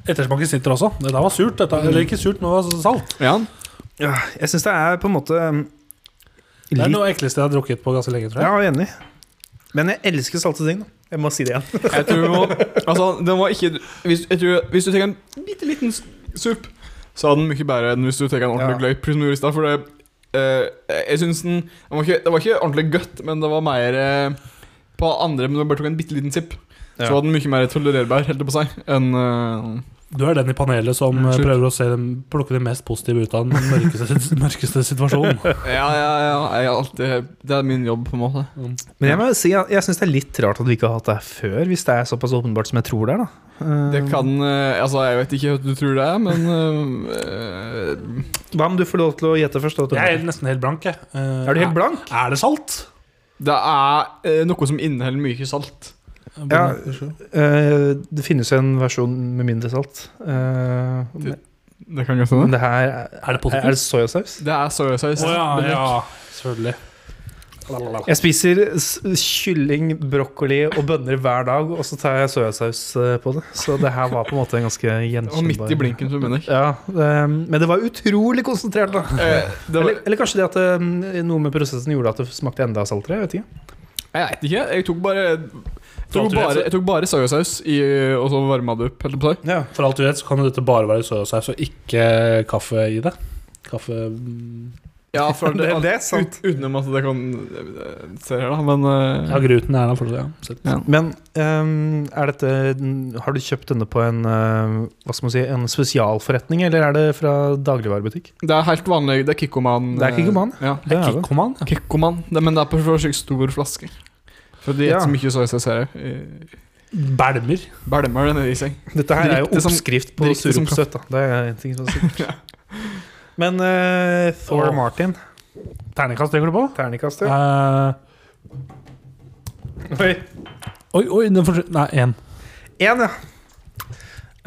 Ettersmaken sitter også. Det der var surt. Dette. Eller ikke surt, men det var salt.
Ja.
Ja, jeg syns det er på en måte um,
Det er
litt
noe av det ekleste jeg har drukket på ganske lenge, tror
Ja, jeg
jeg.
er enig. Men jeg elsker salte ting, da. Jeg må si det igjen.
Jeg tror vi må Altså, den var ikke Hvis, jeg tror, hvis du tar en bitte liten s- supp, så er den mye bedre enn hvis du tar en ordentlig
Ja.
gløyp. Som du gjorde i stad, for det eh, Jeg syns den den var ikke, Det var ikke ordentlig godt, men det var mer eh, På andre, men du bare tok en bitte liten sipp. Så
Ja.
var den mye mer tolererbar, holdt jeg på å si, enn eh,
Du er den i panelet som eh,
Surt.
prøver å se dem, plukke det mest positive ut av den mørkeste, mørkeste situasjonen.
Ja, ja, ja. Jeg er alltid, det er min jobb, på en måte.
Men jeg må jo si at jeg syns det er litt rart at vi ikke har hatt det her før, hvis det er såpass åpenbart som jeg tror det er, da. Um,
Det kan eh, Altså, jeg vet ikke hva du tror det er, men eh, eh,
Hva om du får lov til å gjette først? Da, Tore?
Jeg er nesten helt blank, jeg. Eh,
er du helt blank?
Er det salt?
Det er eh, noe som inneholder mye salt.
Ja. Eh, det finnes jo en versjon med mindre salt. Eh,
Det kan godt
men det her er,
Er
er
det potetgull?
det soyasaus?
Det er soyasaus.
Å ja,
Men-
ja. Selvfølgelig.
Jeg spiser s- kylling, brokkoli og bønner hver dag, og så tar jeg soyasaus eh, på det. Så det her var på en måte en ganske
Og midt
gjenkjennbar
i blinken, for Munnik.
Ja, eh, men det var utrolig konsentrert, da.
Eh, det var,
Eller, eller kanskje det at eh, noe med prosessen gjorde at det smakte enda saltere? Jeg vet ikke.
jeg vet ikke. Jeg tok bare jeg tok
Saltrett,
bare,
så-
jeg tok bare soyasaus, i- og så varma det opp. Helt på seg.
Ja.
For alt du vet, så kan jo dette bare være soyasaus og ikke kaffe i det. Kaffe mm.
Ja, for det,
Det- det er sant.
Ut, utenom at det kan eh, Se her, da, men eh,
Ja, gruten er der for det, ja. Så-
Men ehm, er dette, har du kjøpt denne på en, eh, hva skal man si, en spesialforretning, eller er det fra dagligvarebutikk?
Det er helt vanlig. Det er Kikkoman. eh,
Det er Kikkoman?
Ja.
Det er det.
Kikkoman? ja.
Kikkoman. Det, men det er på en slik stor flaske. For de
Ja.
spiser så mye soyasaus her. eh,
Belmer.
Bælmer den i seg.
Dette her er jo
Direkte som-
oppskrift på
direkte som
surrumsstøtt, da. Det er en ting som er sikkert. Men eh, Thor
Åh.
Martin,
Terningkast tenker du på?
terningkast, ja.
Eh,
Oi.
oi, oi, den forsvant Nei, én.
Én, ja.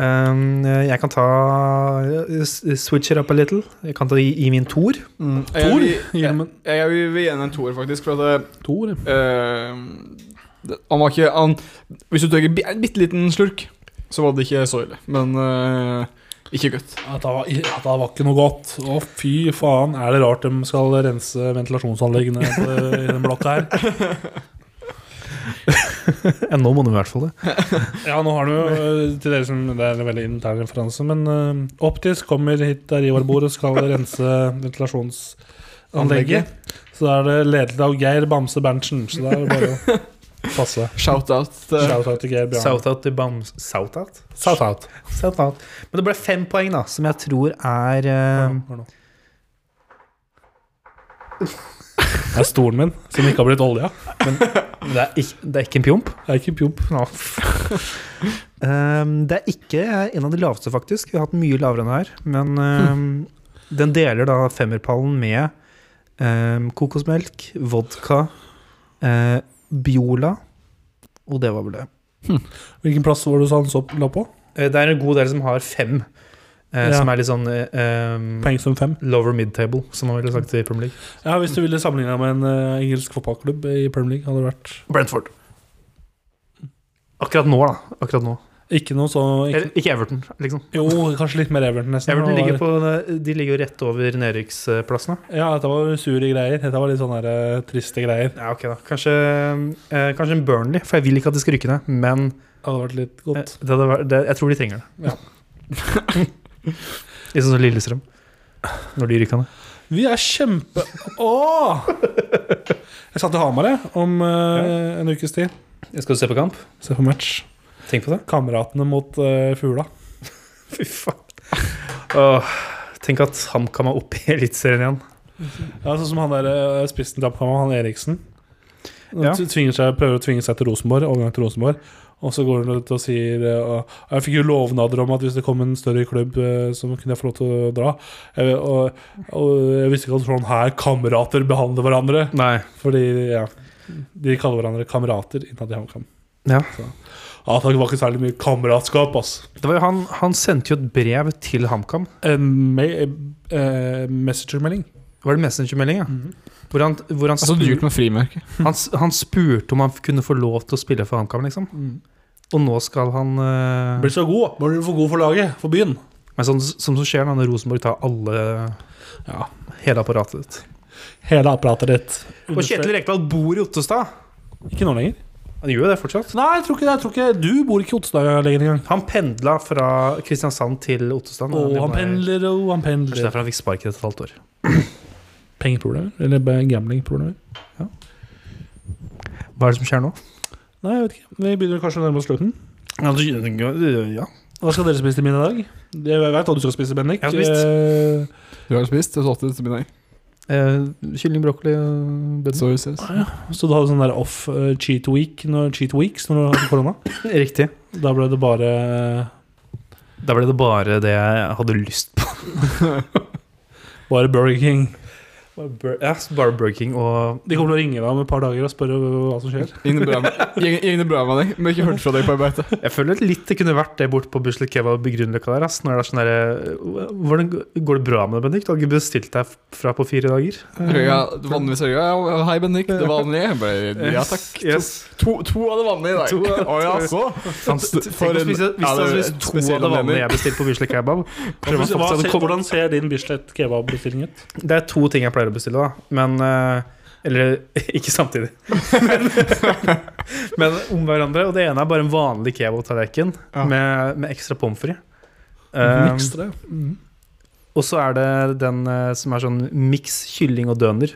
Ehm, jeg kan ta eh, s- Switch it up a little. Jeg kan ta i, i min Thor.
Mm.
Tor?
Jeg,
Gi dem
jeg,
en-
jeg vil gi henne en toer, faktisk. For at det,
To, eller?
Eh, det, han var ikke han, Hvis du tar en bi- en bitte liten slurk, så var det ikke så ille. Men eh, ikke godt.
At det var, at det var ikke noe godt. Å, fy faen. Er det rart de skal rense ventilasjonsanleggene på- i den blokka her?
Ja, Eh, nå må du i hvert fall det.
Ja, nå har du jo eh, til dere som Det er en veldig intern referanse, men eh, Optis kommer hit der Ivar bor og skal rense ventilasjonsanlegget. Så da er det ledet av Geir Bamse Berntsen, så da er det bare å passe.
Shout-out. eh,
Shout-out til Geir Bjarne.
South-out til Bams... South-out?
Shout-out.
Sett alt. Men det ble fem poeng, da, som jeg tror er eh,
Det er stolen min, som ikke har blitt olja.
det, er ikke, det er ikke en pjomp.
Det er ikke pjomp.
Ehm, det er ikke en av de laveste, faktisk. Vi har hatt mye lavere enn det her. Men ehm, den deler da femmerpallen med ehm, kokosmelk, vodka, eh, Biola, og det var vel det.
Hvilken plass var det du sa han så la på?
Eh, Det er en god del som har fem, eh,
Ja.
som er litt sånn eh, ehm,
Poeng som fem.
Lower mid-table, som man ville sagt i Premier League.
Ja, Hvis du ville sammenligna med en eh, engelsk fotballklubb i Premier League, hadde det vært
Brentford. Akkurat nå, da. Akkurat nå.
Ikke noe så ikke,
Eller, ikke Everton, liksom.
Jo, kanskje litt mer Everton, nesten.
Everton
Det var-
ligger på, de ligger jo rett over nedrykksplassene.
Ja, dette var sure greier. Dette var litt sånne her, eh, triste greier.
Ja, ok da. Kanskje, eh, kanskje en Burnley, for jeg vil ikke at de skal rykke ned. Men
Det hadde vært litt
eh,
godt.
det, hadde vært- det, jeg tror de trenger det. Litt sånn som Lillestrøm. Når de rykker ned.
Vi er kjempe... Åh! Jeg satt i Hamar jeg, om eh, en ukes tid.
Skal du se på kamp?
Se på match.
Tenk på det.
Kameratene mot eh, Fugla.
Fy faen. Åh, tenk at HamKam er oppe i Eliteserien igjen.
Ja, sånn som han der eh, spissen til Apkama, han Eriksen. Han
Ja.
tv- tvinger seg, prøver å tvinge seg til Rosenborg, overgang til Rosenborg. Og så går han ut og sier eh, og Jeg fikk jo lovnader om at hvis det kom en større klubb, eh, så kunne jeg få lov til å dra. Jeg, og, og jeg visste ikke at sånn her kamerater behandler hverandre.
Nei.
Fordi ja, de kaller hverandre kamerater innad i HamKam.
Ja.
Så, ja, det var ikke særlig mye kameratskap, ass.
Det var jo han, han sendte jo et brev til HamKam.
En me eh, messengermelding.
Var det Messenger-melding, ja? Hvor, han, hvor han,
Det er så
spur-
dyrt med frimerke.
han, s- han spurte om han kunne få lov til å spille for HamKam, liksom. Og nå skal han eh,
Blir Mm. så god. Blir du for god for laget, for byen.
Men sånn som så skjer da, når Rosenborg tar alle
Ja.
Hele apparatet ditt.
Hele apparatet ditt.
Og Kjetil Rekdal bor i Ottestad!
Ikke nå lenger?
Han gjør jo det fortsatt.
Nei, jeg tror ikke det. Jeg tror ikke Du bor ikke i Ottestad lenger engang.
Han pendla fra Kristiansand til Ottestad.
Å, han
ble-
pendler, og han
Kanskje
pendler.
derfor han fikk spark etter et halvt år.
Pengeproblemer? Eller ba- gamblingproblemer?
Hva er det som skjer nå?
Nei, jeg vet ikke. Vi begynner kanskje å nærme oss slutten.
Ja, du- ja.
Hva skal dere spise til middag i dag? Jeg vet hva du skal spise, Bendik.
Jeg har spist.
Eh,
Du har spist, du har tatt det til middag.
Eh, kylling, brokkoli og bønner.
Så vi ses.
Så du hadde sånn der off eh, cheat week når, cheat weeks når du hadde korona?
Riktig.
Da ble det bare
Da ble det bare det jeg hadde lyst på.
Bare Burger King.
Ja, så bare Burger King og
De kommer til å ringe deg om et par dager og spørre hva som skjer.
Ingen bra med ingen- ingen bra med deg, men ikke hørt fra deg på arbeid.
Jeg føler litt det kunne vært det bort på Busle Kebab i Grünerløkka der. Ass. Når det er sånn derre Hvordan g- går det bra med deg, Bendik? Du har ikke bestilt deg fra på fire dager?
Røya, vanligvis røya. ja, Hei, Bendik. Det vanlige. Jeg Bare, ja takk.
Yes.
To, to av det vanlige i dag.
To av-
Å ja, så.
Faen,
For
tenk å
en-
spise,
ja,
hvis du
det
hadde
er
spist to
spesiell
av det vanlige
anledning.
jeg bestilte på Busle Kebab prøver
Hva,
å fortsatt
ser-
å komme-
hvordan ser din Bislett kebab-bestilling ut?
Det er to ting jeg pleier å bestille, da. Men eh, Eller ikke samtidig. Men, men om hverandre. Og det ene er bare en vanlig kebabtallerken
Ja.
med, med ekstra pommes frites. Um,
Ekstra. Mm.
og så er det den eh, som er sånn miks kylling og døner.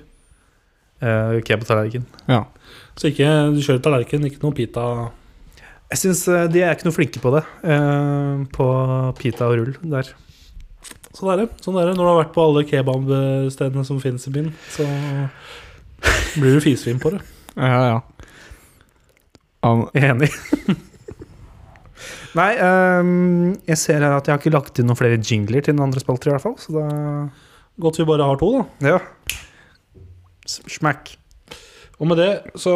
Uh, Kebabtallerken.
Så ikke, du kjører tallerken, ikke noe pita.
Jeg syns eh, de er ikke noe flinke på det. eh, på pita og rull der.
Sånn er det. sånn er det Når du har vært på alle kebabstedene som finnes i byen, så blir du fisefin på det.
Ja, ja. Um,
Enig. Nei, ehm, jeg ser her at jeg har ikke lagt inn noen flere jingler til den andre spalter, i hvert fall. Så da
Godt vi bare har to, da.
Ja. S- Smack.
Og med det så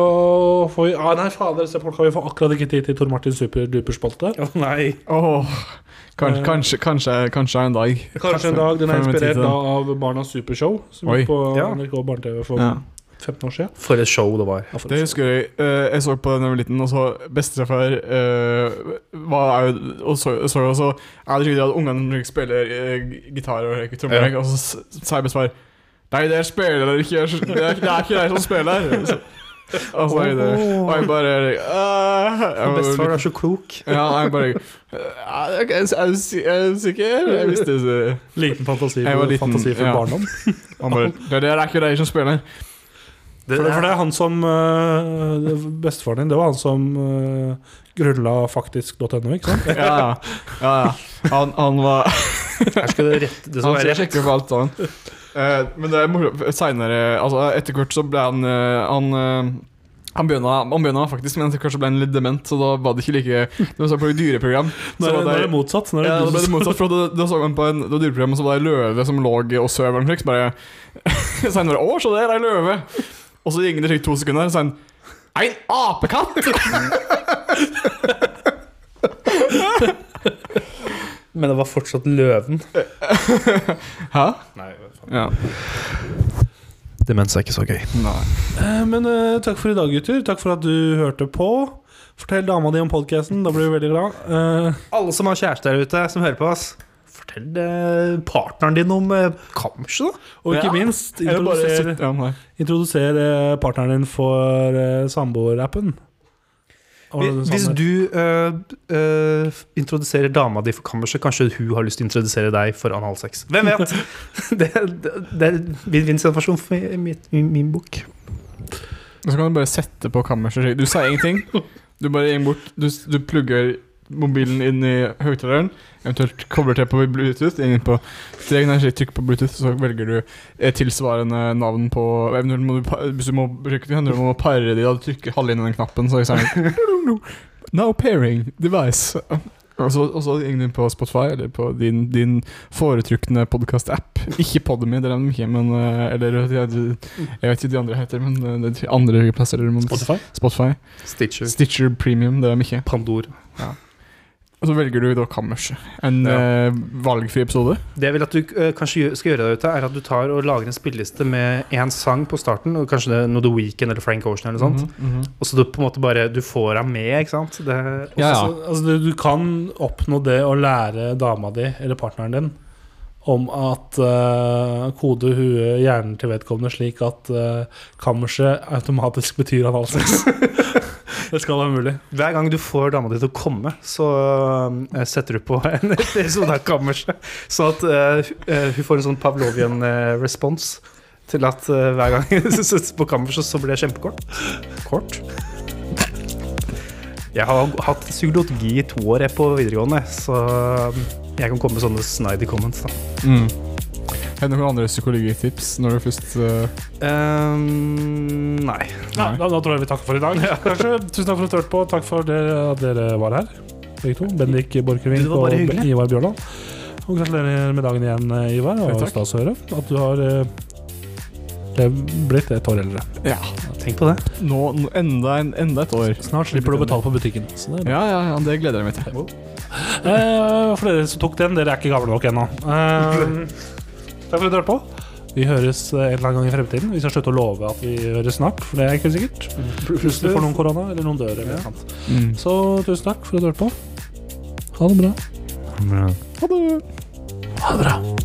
får vi ah, Nei, fader, se på klokka, vi får akkurat ikke tid til Tor Martin superduper-spalte.
Å nei.
åh. Kanskje, kanskje, kanskje, kanskje en dag.
Eh, Kanskje en dag den er
Får vi tid til
inspirert
den.
da, av Barnas Supershow, som
Oi.
gikk på
Ja.
NRK Barne-TV for
Ja.
15 år siden.
For et show det var.
Ja, for
Det
å si.
husker jeg. eh, jeg så på den da jeg var liten, og så bestefar uh, var jo Og så så jeg også Jeg trodde at ungene spiller eh, gitar og trommer,
Ja.
og så s- sa jeg bestefar Nei, der spiller dere ikke. Det er, det er ikke jeg som spiller. Så, og, så, er det, og jeg bare uh, jeg, var
Bestefar
litt-
er så klok.
ja, jeg bare eh, ok, Er du si- er du sikker? Jeg visste ikke.
Liten fantasi
Jeg var
for,
liten,
fantasi for
ja.
barndom.
Han bare Det der er ikke dere som spiller.
For det, for det er han som øh, det- Bestefaren din, det var han som uh, grunnla faktisk.no, ikke sant?
Ja, ja. ja, ja. Han, han var
Her skal det rette det
Han
som er
skal
rett.
sjekke for alt annet. Eh, men det er morsomt. Senere, altså etter hvert så ble han eh, Han eh, han begynna, han begynna faktisk, men etter hvert så ble han litt dement, så da var det ikke like Det var så på et dyreprogram.
Nå
Så
er, det- nå
var
er
det,
det motsatt. Nå er det
ja,
du
da ble det
som-
motsatt, for da, da så man på en, det var dyreprogram, og så var det ei løve som lå og sov eller noe slikt. så Bare Senere Å, se der, ei løve! Og så gikk det sikkert to sekunder, og så sa han Ein apekatt!
Men det var fortsatt løven.
Hæ?
Nei, faen.
Ja.
Demens er ikke så gøy.
Nei.
Eh, Men eh, takk for i dag, gutter. Takk for at du hørte på.
Fortell dama di om podkasten, da blir du veldig glad. Eh,
Alle som har kjæreste der ute, som hører på oss, fortell eh, partneren din om eh, kammerset, da.
og ikke
Ja.
minst,
Eller bare
introduser,
sitt- ja, nei.
introduser eh, partneren din for eh, samboerappen. Og
Hvis-
sånn-
Hvis du eh, eh, f- introduserer dama di for kammerset, kanskje hun har lyst til å introdusere deg for analsex. Hvem vet? det, det, det er vinn-vinn-situasjon for mi- mitt- min, min bok.
Så kan du bare sette på kammerset. Du sier ingenting. Du bare inn bort Du, s- du plugger mobilen inn i høyttaleren, eventuelt kobler til på Bluetooth. Inn på strek, nei, ikke trykk på Bluetooth, så velger du eh, tilsvarende navn på Eventuelt må du, pa- hvis du må bruke det, handler det om å pare de, da du trykker halve inn i den knappen, så sier den Now pairing device. Og så, og så inn på Spotify, eller på din, din foretrukne podkast-app. Ikke Podmy, det er den ikke, men eh, Eller jeg jeg vet ikke de andre heter, men eh, det er andre plasser. eller-
Spotify.
Spotify.
Stitcher.
Stitcher Premium, det er de ikke.
Pandora.
Og så velger du da Kammerset. En eh, valgfri episode.
Det jeg vil at du eh, kanskje gjø- skal gjøre der ute, er at du tar og lager en spilleliste med én sang på starten, og kanskje det er noe The Weeknd eller Frank Ocean eller noe sånt.
Mhm, mhm.
Og så du på en måte bare Du får deg med, ikke sant? Det,
Ja, ja.
Altså, altså, du, du kan oppnå det å lære dama di, eller partneren din, om at eh, kode huet hjernen til vedkommende slik at eh, kammerset automatisk betyr analsex. det skal være mulig.
Hver gang du får dama di til å komme, så eh, setter du på en episode av Kammerset. Så at eh, hu- eh, hun får en sånn Pavlovian-respons til at eh, hver gang hun settes på Kammerset, så blir det kjempekort. Kort. Jeg har hatt psykologi i to år jeg på videregående, så um, jeg kan komme med sånne snide comments, da.
Mm. Har du noen andre psykologitips når du først eh,
Ehm, nei.
Ja, da, da tror jeg vi takker for i dag. Kanskje, tusen takk for at du hørte på. Takk for dere, at dere var her, begge to. Bendik Borchgrevink
Det var
og
bare hyggelig.
Ivar Bjørland. Og gratulerer med dagen igjen, eh, Ivar.
Jo,
Og
takk.
stas å høre at du har eh, lev- blitt et år eldre.
Ja.
Tenk på det.
Nå, nå enda, en, enda et år.
Snart slipper du å betale på butikken. Så det er bra.
Ja, ja, ja, det gleder jeg meg til.
Eh, for dere som tok den, dere er ikke gamle nok ennå. Eh, takk for at du hørte på. Vi høres eh, en eller annen gang i fremtiden. Vi skal slutte å love at vi høres snart, for det er ikke sikkert. Plutselig får noen korona, eller noen dør, eller noe annet.
Mm.
Så tusen takk for at du hørte på. Ha det bra.
Ha det.
Ha det bra.